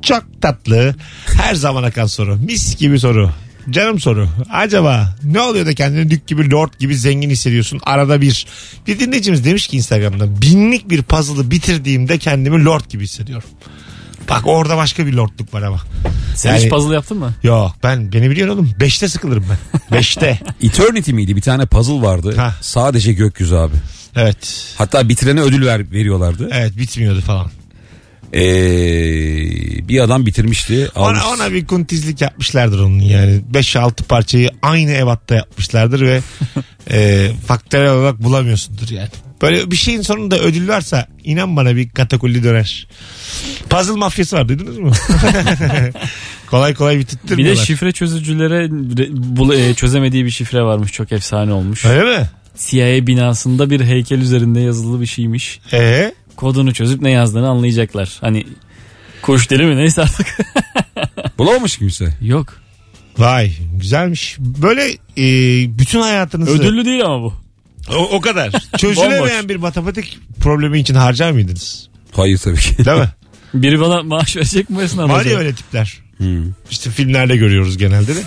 [SPEAKER 2] çok tatlı. Her zaman akan soru. Mis gibi soru. Canım soru. Acaba ne oluyor da kendini dük gibi lord gibi zengin hissediyorsun arada bir. Bir dinleyicimiz demiş ki Instagram'da binlik bir puzzle'ı bitirdiğimde kendimi lord gibi hissediyorum. Bak orada başka bir lordluk var ama.
[SPEAKER 3] Sen
[SPEAKER 2] Yani-
[SPEAKER 3] hiç puzzle yaptın mı?
[SPEAKER 2] Yok ben beni biliyorsun oğlum. Beşte sıkılırım ben. Beşte.
[SPEAKER 4] Eternity miydi? Bir tane puzzle vardı.
[SPEAKER 2] Ha.
[SPEAKER 4] Sadece gökyüzü abi.
[SPEAKER 2] Evet.
[SPEAKER 4] Hatta bitirene ödül ver, veriyorlardı.
[SPEAKER 2] Evet bitmiyordu falan.
[SPEAKER 4] Ee, bir adam bitirmişti. Almış.
[SPEAKER 2] Ona, ona bir kuntizlik yapmışlardır onun yani. 5-6 parçayı aynı evatta yapmışlardır ve e, faktörel olarak bulamıyorsundur yani. Böyle bir şeyin sonunda ödül varsa inan bana bir katakulli döner. Puzzle mafyası var duydunuz mu? kolay kolay
[SPEAKER 3] Bir de
[SPEAKER 2] bitirttirmiyorlar.
[SPEAKER 3] şifre çözücülere re- bul- e, çözemediği bir şifre varmış. Çok efsane olmuş.
[SPEAKER 2] Öyle mi?
[SPEAKER 3] CIA binasında bir heykel üzerinde yazılı bir şeymiş.
[SPEAKER 2] Ee,
[SPEAKER 3] Kodunu çözüp ne yazdığını anlayacaklar. Hani kuş dili mi neyse artık.
[SPEAKER 4] Bulamamış kimse.
[SPEAKER 3] Yok.
[SPEAKER 2] vay güzelmiş. Böyle e, bütün hayatınızı
[SPEAKER 3] Ödüllü değil ama bu.
[SPEAKER 2] o, o kadar çözülemeyen
[SPEAKER 3] Bomboş.
[SPEAKER 2] bir matematik problemi için harcar mıydınız?
[SPEAKER 4] Hayır tabii ki.
[SPEAKER 2] Değil mi?
[SPEAKER 3] Biri bana maaş verecek mi bu esnada?
[SPEAKER 2] Var ya
[SPEAKER 3] acaba?
[SPEAKER 2] öyle tipler. İşte filmlerde görüyoruz genelde de.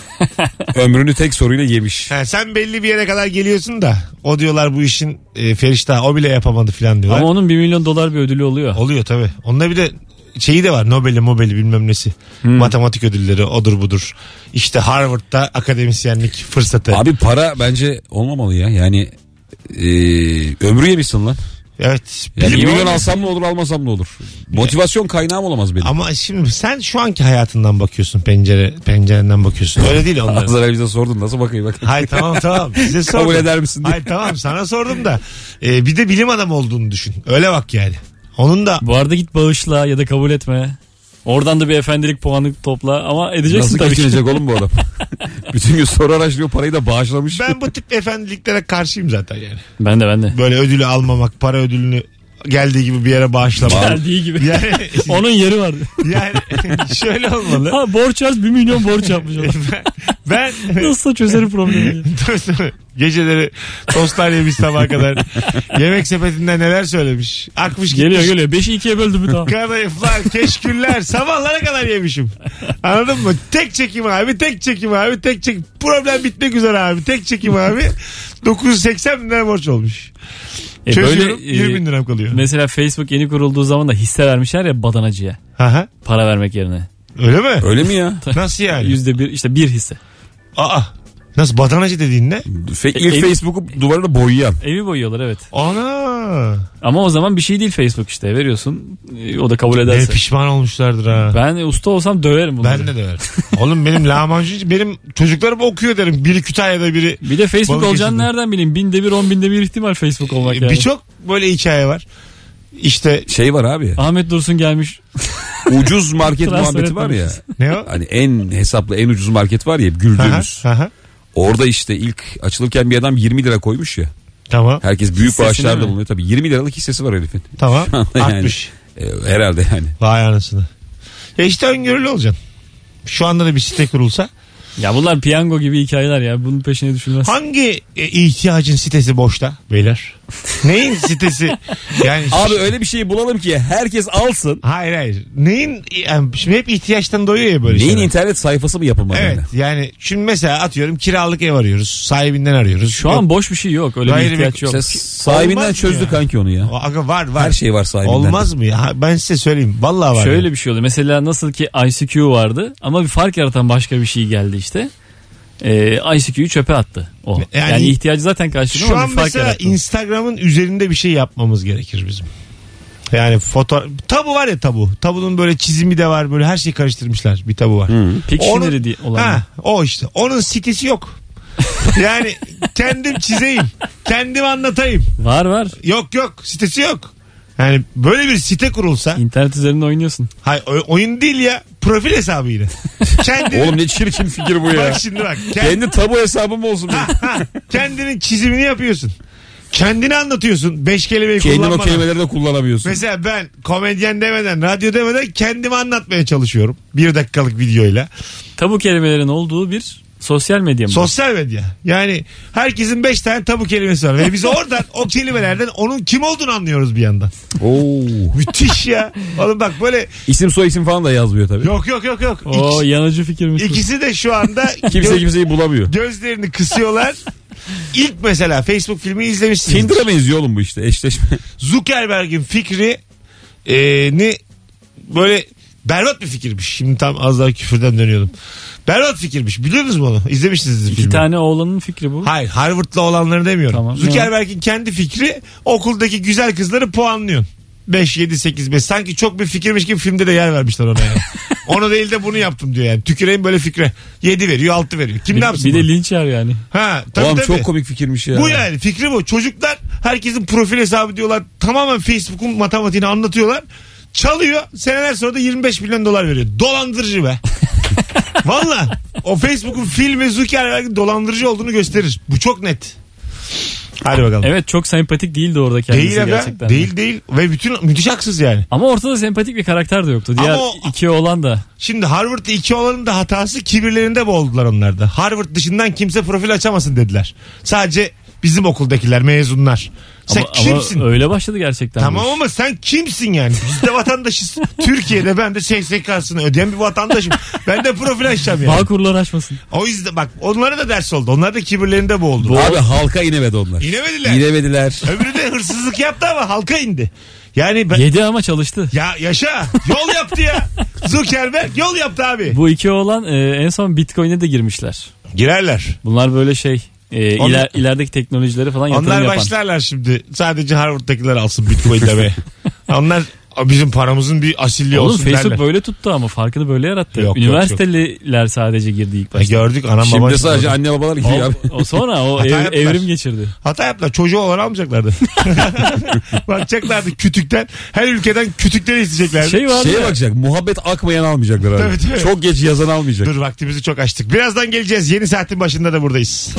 [SPEAKER 4] Ömrünü tek soruyla yemiş.
[SPEAKER 2] Ha, sen belli bir yere kadar geliyorsun da o diyorlar bu işin e, feriştahı o bile yapamadı filan diyorlar.
[SPEAKER 3] Ama onun 1 milyon dolar bir ödülü oluyor.
[SPEAKER 2] Oluyor tabii. Onda bir de şeyi de var Nobel'i Nobel'i bilmem nesi. Matematik ödülleri odur budur. İşte Harvard'da akademisyenlik fırsatı.
[SPEAKER 4] Abi para bence olmamalı ya. Yani Ee, ömrü yemişsin lan.
[SPEAKER 2] Evet.
[SPEAKER 4] Yani
[SPEAKER 2] Bilim-
[SPEAKER 4] bir milyon alsam ne olur almasam ne olur. Motivasyon kaynağım olamaz benim.
[SPEAKER 2] Ama şimdi sen şu anki hayatından bakıyorsun pencere pencerenden bakıyorsun. Öyle değil onlar.
[SPEAKER 4] Az evvel bize sordun nasıl bakayım bak.
[SPEAKER 2] Hayır tamam tamam. Size
[SPEAKER 4] Kabul
[SPEAKER 2] sordum.
[SPEAKER 4] eder misin diye.
[SPEAKER 2] Hayır tamam sana sordum da. Ee, bir de bilim adamı olduğunu düşün. Öyle bak yani. Onun da
[SPEAKER 3] Bu arada git bağışla ya da kabul etme. Oradan da bir efendilik puanı topla ama edeceksin
[SPEAKER 4] Nasıl
[SPEAKER 3] tabii ki.
[SPEAKER 4] geçinecek oğlum bu adam? Bütün gün soru araştırıyor parayı da bağışlamış.
[SPEAKER 2] ben bu tip efendiliklere karşıyım zaten yani.
[SPEAKER 3] Ben de ben de.
[SPEAKER 2] Böyle ödülü almamak, para ödülünü geldiği gibi bir yere bağışlamak.
[SPEAKER 3] Geldiği gibi.
[SPEAKER 2] yani,
[SPEAKER 3] Onun yeri var.
[SPEAKER 2] yani şöyle olmalı.
[SPEAKER 3] Ha borç yaz 1 milyon borç yapmış adam.
[SPEAKER 2] Ben
[SPEAKER 3] Nasıl çözerim problemi.
[SPEAKER 2] Tabii, tabii. Geceleri tostlar yemiş sabaha kadar. Yemek sepetinde neler söylemiş. Akmış gitmiş.
[SPEAKER 3] Geliyor geliyor. 5'i 2'ye böldü mü tamam.
[SPEAKER 2] Kadayıflar, keşküller sabahlara kadar yemişim. Anladın mı? Tek çekim abi, tek çekim abi, tek çekim. Problem bitmek üzere abi. Tek çekim abi. 980 bin lira borç olmuş.
[SPEAKER 3] E,
[SPEAKER 2] Çözüyorum.
[SPEAKER 3] e,
[SPEAKER 2] 20 bin liram kalıyor.
[SPEAKER 3] Mesela Facebook yeni kurulduğu zaman da hisse vermişler ya badanacıya.
[SPEAKER 2] Aha,
[SPEAKER 3] Para vermek yerine.
[SPEAKER 2] öyle mi?
[SPEAKER 4] Öyle mi ya?
[SPEAKER 2] Nasıl yani?
[SPEAKER 3] Yüzde bir işte bir hisse.
[SPEAKER 2] Aa. Nasıl badanacı dediğin ne?
[SPEAKER 4] Fe-
[SPEAKER 3] E,
[SPEAKER 4] ilk
[SPEAKER 3] ev-
[SPEAKER 4] Facebook'u duvarına boyayan.
[SPEAKER 3] Evi boyuyorlar evet.
[SPEAKER 2] Ana.
[SPEAKER 3] Ama o zaman bir şey değil Facebook işte veriyorsun. E, O da kabul
[SPEAKER 2] Ne
[SPEAKER 3] ederse.
[SPEAKER 2] pişman olmuşlardır ha.
[SPEAKER 3] Ben e, usta olsam döverim bunu.
[SPEAKER 2] Ben de döverim. Oğlum benim lahmacuncu benim çocuklarım okuyor derim. Biri Kütahya'da biri.
[SPEAKER 3] Bir de Facebook
[SPEAKER 2] Balıkesir'de.
[SPEAKER 3] olacağını nereden bileyim? Binde bir on binde bir ihtimal Facebook olmak yani.
[SPEAKER 2] E, Birçok böyle hikaye var. İşte
[SPEAKER 4] Şey var abi.
[SPEAKER 3] Ahmet Dursun gelmiş.
[SPEAKER 4] ucuz market
[SPEAKER 3] Transfer
[SPEAKER 4] muhabbeti var ya.
[SPEAKER 3] etmemişiz.
[SPEAKER 2] ne o?
[SPEAKER 4] Hani en hesaplı en ucuz market var ya
[SPEAKER 2] Aha,
[SPEAKER 4] güldüğümüz.
[SPEAKER 2] aha.
[SPEAKER 4] Orada işte ilk açılırken bir adam 20 lira koymuş ya.
[SPEAKER 2] Tamam
[SPEAKER 4] Herkes büyük
[SPEAKER 3] Hissesini
[SPEAKER 4] bağışlarda
[SPEAKER 3] mi?
[SPEAKER 4] bulunuyor tabii. 20 liralık hissesi var herifin.
[SPEAKER 2] tamam.
[SPEAKER 4] Yani.
[SPEAKER 2] 60.
[SPEAKER 4] E, herhalde yani.
[SPEAKER 2] Vay anasını. Ya işte öngörülü olacaksın. Şu anda da bir site kurulsa.
[SPEAKER 3] Ya bunlar piyango gibi hikayeler ya. Bunun peşine düşülmez.
[SPEAKER 2] Hangi e, ihtiyacın sitesi boşta beyler? Neyin sitesi? Yani
[SPEAKER 4] Abi öyle bir şey bulalım ki herkes alsın.
[SPEAKER 2] Hayır hayır. Neyin yani şimdi hep ihtiyaçtan doyuyor ya böyle
[SPEAKER 4] Neyin
[SPEAKER 2] şeyler.
[SPEAKER 4] internet sayfası mı yapılmadı?
[SPEAKER 2] Evet
[SPEAKER 4] yani?
[SPEAKER 2] yani şimdi mesela atıyorum kiralık ev arıyoruz. Sahibinden arıyoruz.
[SPEAKER 3] Şu an boş bir şey yok. Öyle
[SPEAKER 2] Gayrimenkul-
[SPEAKER 3] bir ihtiyaç yok.
[SPEAKER 4] İşte sahibinden
[SPEAKER 2] Olmaz mı
[SPEAKER 4] çözdü
[SPEAKER 2] ya?
[SPEAKER 4] kanki onu ya.
[SPEAKER 2] Aga var var.
[SPEAKER 4] Her şey var sahibinden.
[SPEAKER 2] Olmaz mı ya? Ha, Ben size söyleyeyim. Vallahi var.
[SPEAKER 3] Şöyle
[SPEAKER 2] ya.
[SPEAKER 3] bir şey oldu. Mesela nasıl ki ICQ vardı ama bir fark yaratan başka bir şey geldi işte. Ee, ICQ'yu çöpe attı o.
[SPEAKER 2] Yani-
[SPEAKER 3] Yani, ihtiyacı zaten karşılıyor
[SPEAKER 2] Şu
[SPEAKER 3] ama
[SPEAKER 2] an
[SPEAKER 3] bir fark
[SPEAKER 2] mesela
[SPEAKER 3] yarattı.
[SPEAKER 2] Instagram'ın üzerinde bir şey yapmamız gerekir bizim. Yani foto tabu var ya tabu. Tabunun böyle çizimi de var. Böyle her şeyi karıştırmışlar. Bir tabu var.
[SPEAKER 4] Hmm.
[SPEAKER 3] Pictionary diye olan.
[SPEAKER 2] Ha, o işte. Onun sitesi yok. yani kendim çizeyim. Kendim anlatayım.
[SPEAKER 3] Var var.
[SPEAKER 2] Yok yok sitesi yok. Yani böyle bir site kurulsa.
[SPEAKER 3] İnternet üzerinde oynuyorsun.
[SPEAKER 2] Hayır oy- oyun değil ya. Profil hesabı yine. Kendi,
[SPEAKER 4] Oğlum ne çirkin fikir bu ya.
[SPEAKER 2] bak şimdi bak. Kendi,
[SPEAKER 4] Kendi tabu hesabım olsun. benim.
[SPEAKER 2] Ha, kendinin çizimini yapıyorsun. Kendini anlatıyorsun. Beş kelimeyi
[SPEAKER 4] Kendin o
[SPEAKER 2] kullanmadan.
[SPEAKER 4] kelimeleri de kullanamıyorsun.
[SPEAKER 2] Mesela ben komedyen demeden, radyo demeden kendimi anlatmaya çalışıyorum. Bir dakikalık videoyla.
[SPEAKER 3] Tabu kelimelerin olduğu bir sosyal medya mı?
[SPEAKER 2] Sosyal medya. Yani herkesin beş tane tabu kelimesi var. Ve biz oradan o kelimelerden onun kim olduğunu anlıyoruz bir yandan.
[SPEAKER 4] Oo.
[SPEAKER 2] Müthiş ya. Oğlum bak böyle
[SPEAKER 4] İsim soy isim falan da yazmıyor tabii.
[SPEAKER 2] yok yok yok yok.
[SPEAKER 3] o
[SPEAKER 2] İkisi,
[SPEAKER 3] yanıcı fikirmiş. bu.
[SPEAKER 2] ikisi de şu anda
[SPEAKER 4] Kimse kimseyi bulamıyor.
[SPEAKER 2] gözlerini kısıyorlar. İlk mesela Facebook filmini izlemişsiniz.
[SPEAKER 4] Tinder'a benziyor oğlum bu işte eşleşme.
[SPEAKER 2] Zuckerberg'in fikri e, ni böyle berbat bir fikirmiş. Şimdi tam az daha küfürden dönüyordum. Berbat fikirmiş. Biliyor musunuz bunu? İzlemişsinizdir
[SPEAKER 3] İki
[SPEAKER 2] filmi.
[SPEAKER 3] tane oğlanın fikri bu.
[SPEAKER 2] Hayır Harvard'lı olanları demiyorum.
[SPEAKER 3] Tamam.
[SPEAKER 2] Zuckerberg'in kendi fikri okuldaki güzel kızları puanlıyorsun. 5, 7, 8, 5. Sanki çok bir fikirmiş gibi filmde de yer vermişler ona yani. Onu değil de bunu yaptım diyor yani. Tüküreyim böyle fikre. 7 veriyor 6 veriyor. Kim
[SPEAKER 3] bir,
[SPEAKER 2] ne yapsın?
[SPEAKER 3] bir de
[SPEAKER 2] bunu?
[SPEAKER 3] linç yer yani.
[SPEAKER 2] ha, tabii,
[SPEAKER 4] oğlum
[SPEAKER 2] tabii.
[SPEAKER 4] çok komik fikirmiş ya.
[SPEAKER 2] Bu yani fikri bu. Çocuklar herkesin profil hesabı diyorlar. Tamamen Facebook'un matematiğini anlatıyorlar. Çalıyor. Seneler sonra da 25 milyon dolar veriyor. Dolandırıcı be. Valla o Facebook'un filmi Zuckerberg'in dolandırıcı olduğunu gösterir. Bu çok net. Hadi bakalım.
[SPEAKER 3] Evet çok sempatik değildi orada kendisi
[SPEAKER 2] değil
[SPEAKER 3] gerçekten.
[SPEAKER 2] aga.
[SPEAKER 3] de.
[SPEAKER 2] Değil değil. Ve bütün müthiş haksız yani.
[SPEAKER 3] Ama ortada sempatik bir karakter de yoktu. Diğer
[SPEAKER 2] Ama o-
[SPEAKER 3] iki oğlan da.
[SPEAKER 2] Şimdi Harvard'da iki olanın da hatası kibirlerinde boğuldular onlar da. Harvard dışından kimse profil açamasın dediler. Sadece bizim okuldakiler mezunlar. Sen
[SPEAKER 3] Ama- ama
[SPEAKER 2] kimsin?
[SPEAKER 3] öyle başladı gerçekten. bu
[SPEAKER 2] Tamam
[SPEAKER 3] iş.
[SPEAKER 2] ama sen kimsin yani? Biz de vatandaşız. Türkiye'de ben de SSK'sını ödeyen bir vatandaşım. Ben de profil açacağım yani.
[SPEAKER 3] Bağkurlar açmasın.
[SPEAKER 2] O yüzden bak onlara da ders oldu. Onlar da kibirlerinde boğuldu.
[SPEAKER 4] Abi halka inemedi onlar.
[SPEAKER 2] İnemediler.
[SPEAKER 4] İnemediler.
[SPEAKER 2] Öbürü de hırsızlık yaptı ama halka indi. Yani ben...
[SPEAKER 3] Yedi ama çalıştı.
[SPEAKER 2] Ya yaşa. Yol yaptı ya. Zuckerberg yol yaptı abi.
[SPEAKER 3] Bu iki oğlan e, en son Bitcoin'e de girmişler.
[SPEAKER 2] Girerler.
[SPEAKER 3] Bunlar böyle şey e,
[SPEAKER 2] Onlar-
[SPEAKER 3] iler- ilerideki teknolojilere falan yatırım
[SPEAKER 2] Onlar
[SPEAKER 3] yapan.
[SPEAKER 2] başlarlar şimdi. Sadece Harvard'dakiler alsın Bitcoin demeye. Onlar bizim paramızın bir asilliği
[SPEAKER 3] Oğlum
[SPEAKER 2] olsun
[SPEAKER 3] Facebook
[SPEAKER 2] derler.
[SPEAKER 3] böyle tuttu ama farkını böyle yarattı.
[SPEAKER 2] Yok, yok,
[SPEAKER 3] Üniversiteliler sadece girdi
[SPEAKER 2] Ya
[SPEAKER 3] ilk başta.
[SPEAKER 2] E, Gördük anam babam.
[SPEAKER 4] Şimdi sadece anne babalar gidiyor abi.
[SPEAKER 3] O, o sonra o
[SPEAKER 2] Hata
[SPEAKER 3] ev-
[SPEAKER 2] yaptılar.
[SPEAKER 3] evrim geçirdi.
[SPEAKER 2] Hata yaptılar. Çocuğu olan almayacaklardı. Bakacaklardı kütükten. Her ülkeden kütükleri isteyeceklerdi.
[SPEAKER 3] Şey var
[SPEAKER 4] Şeye
[SPEAKER 3] ya,
[SPEAKER 4] bakacak muhabbet akmayan almayacaklar abi.
[SPEAKER 2] Tabii, tabii.
[SPEAKER 4] Çok geç yazan almayacak.
[SPEAKER 2] Dur vaktimizi çok açtık. Birazdan geleceğiz. Yeni saatin başında da buradayız.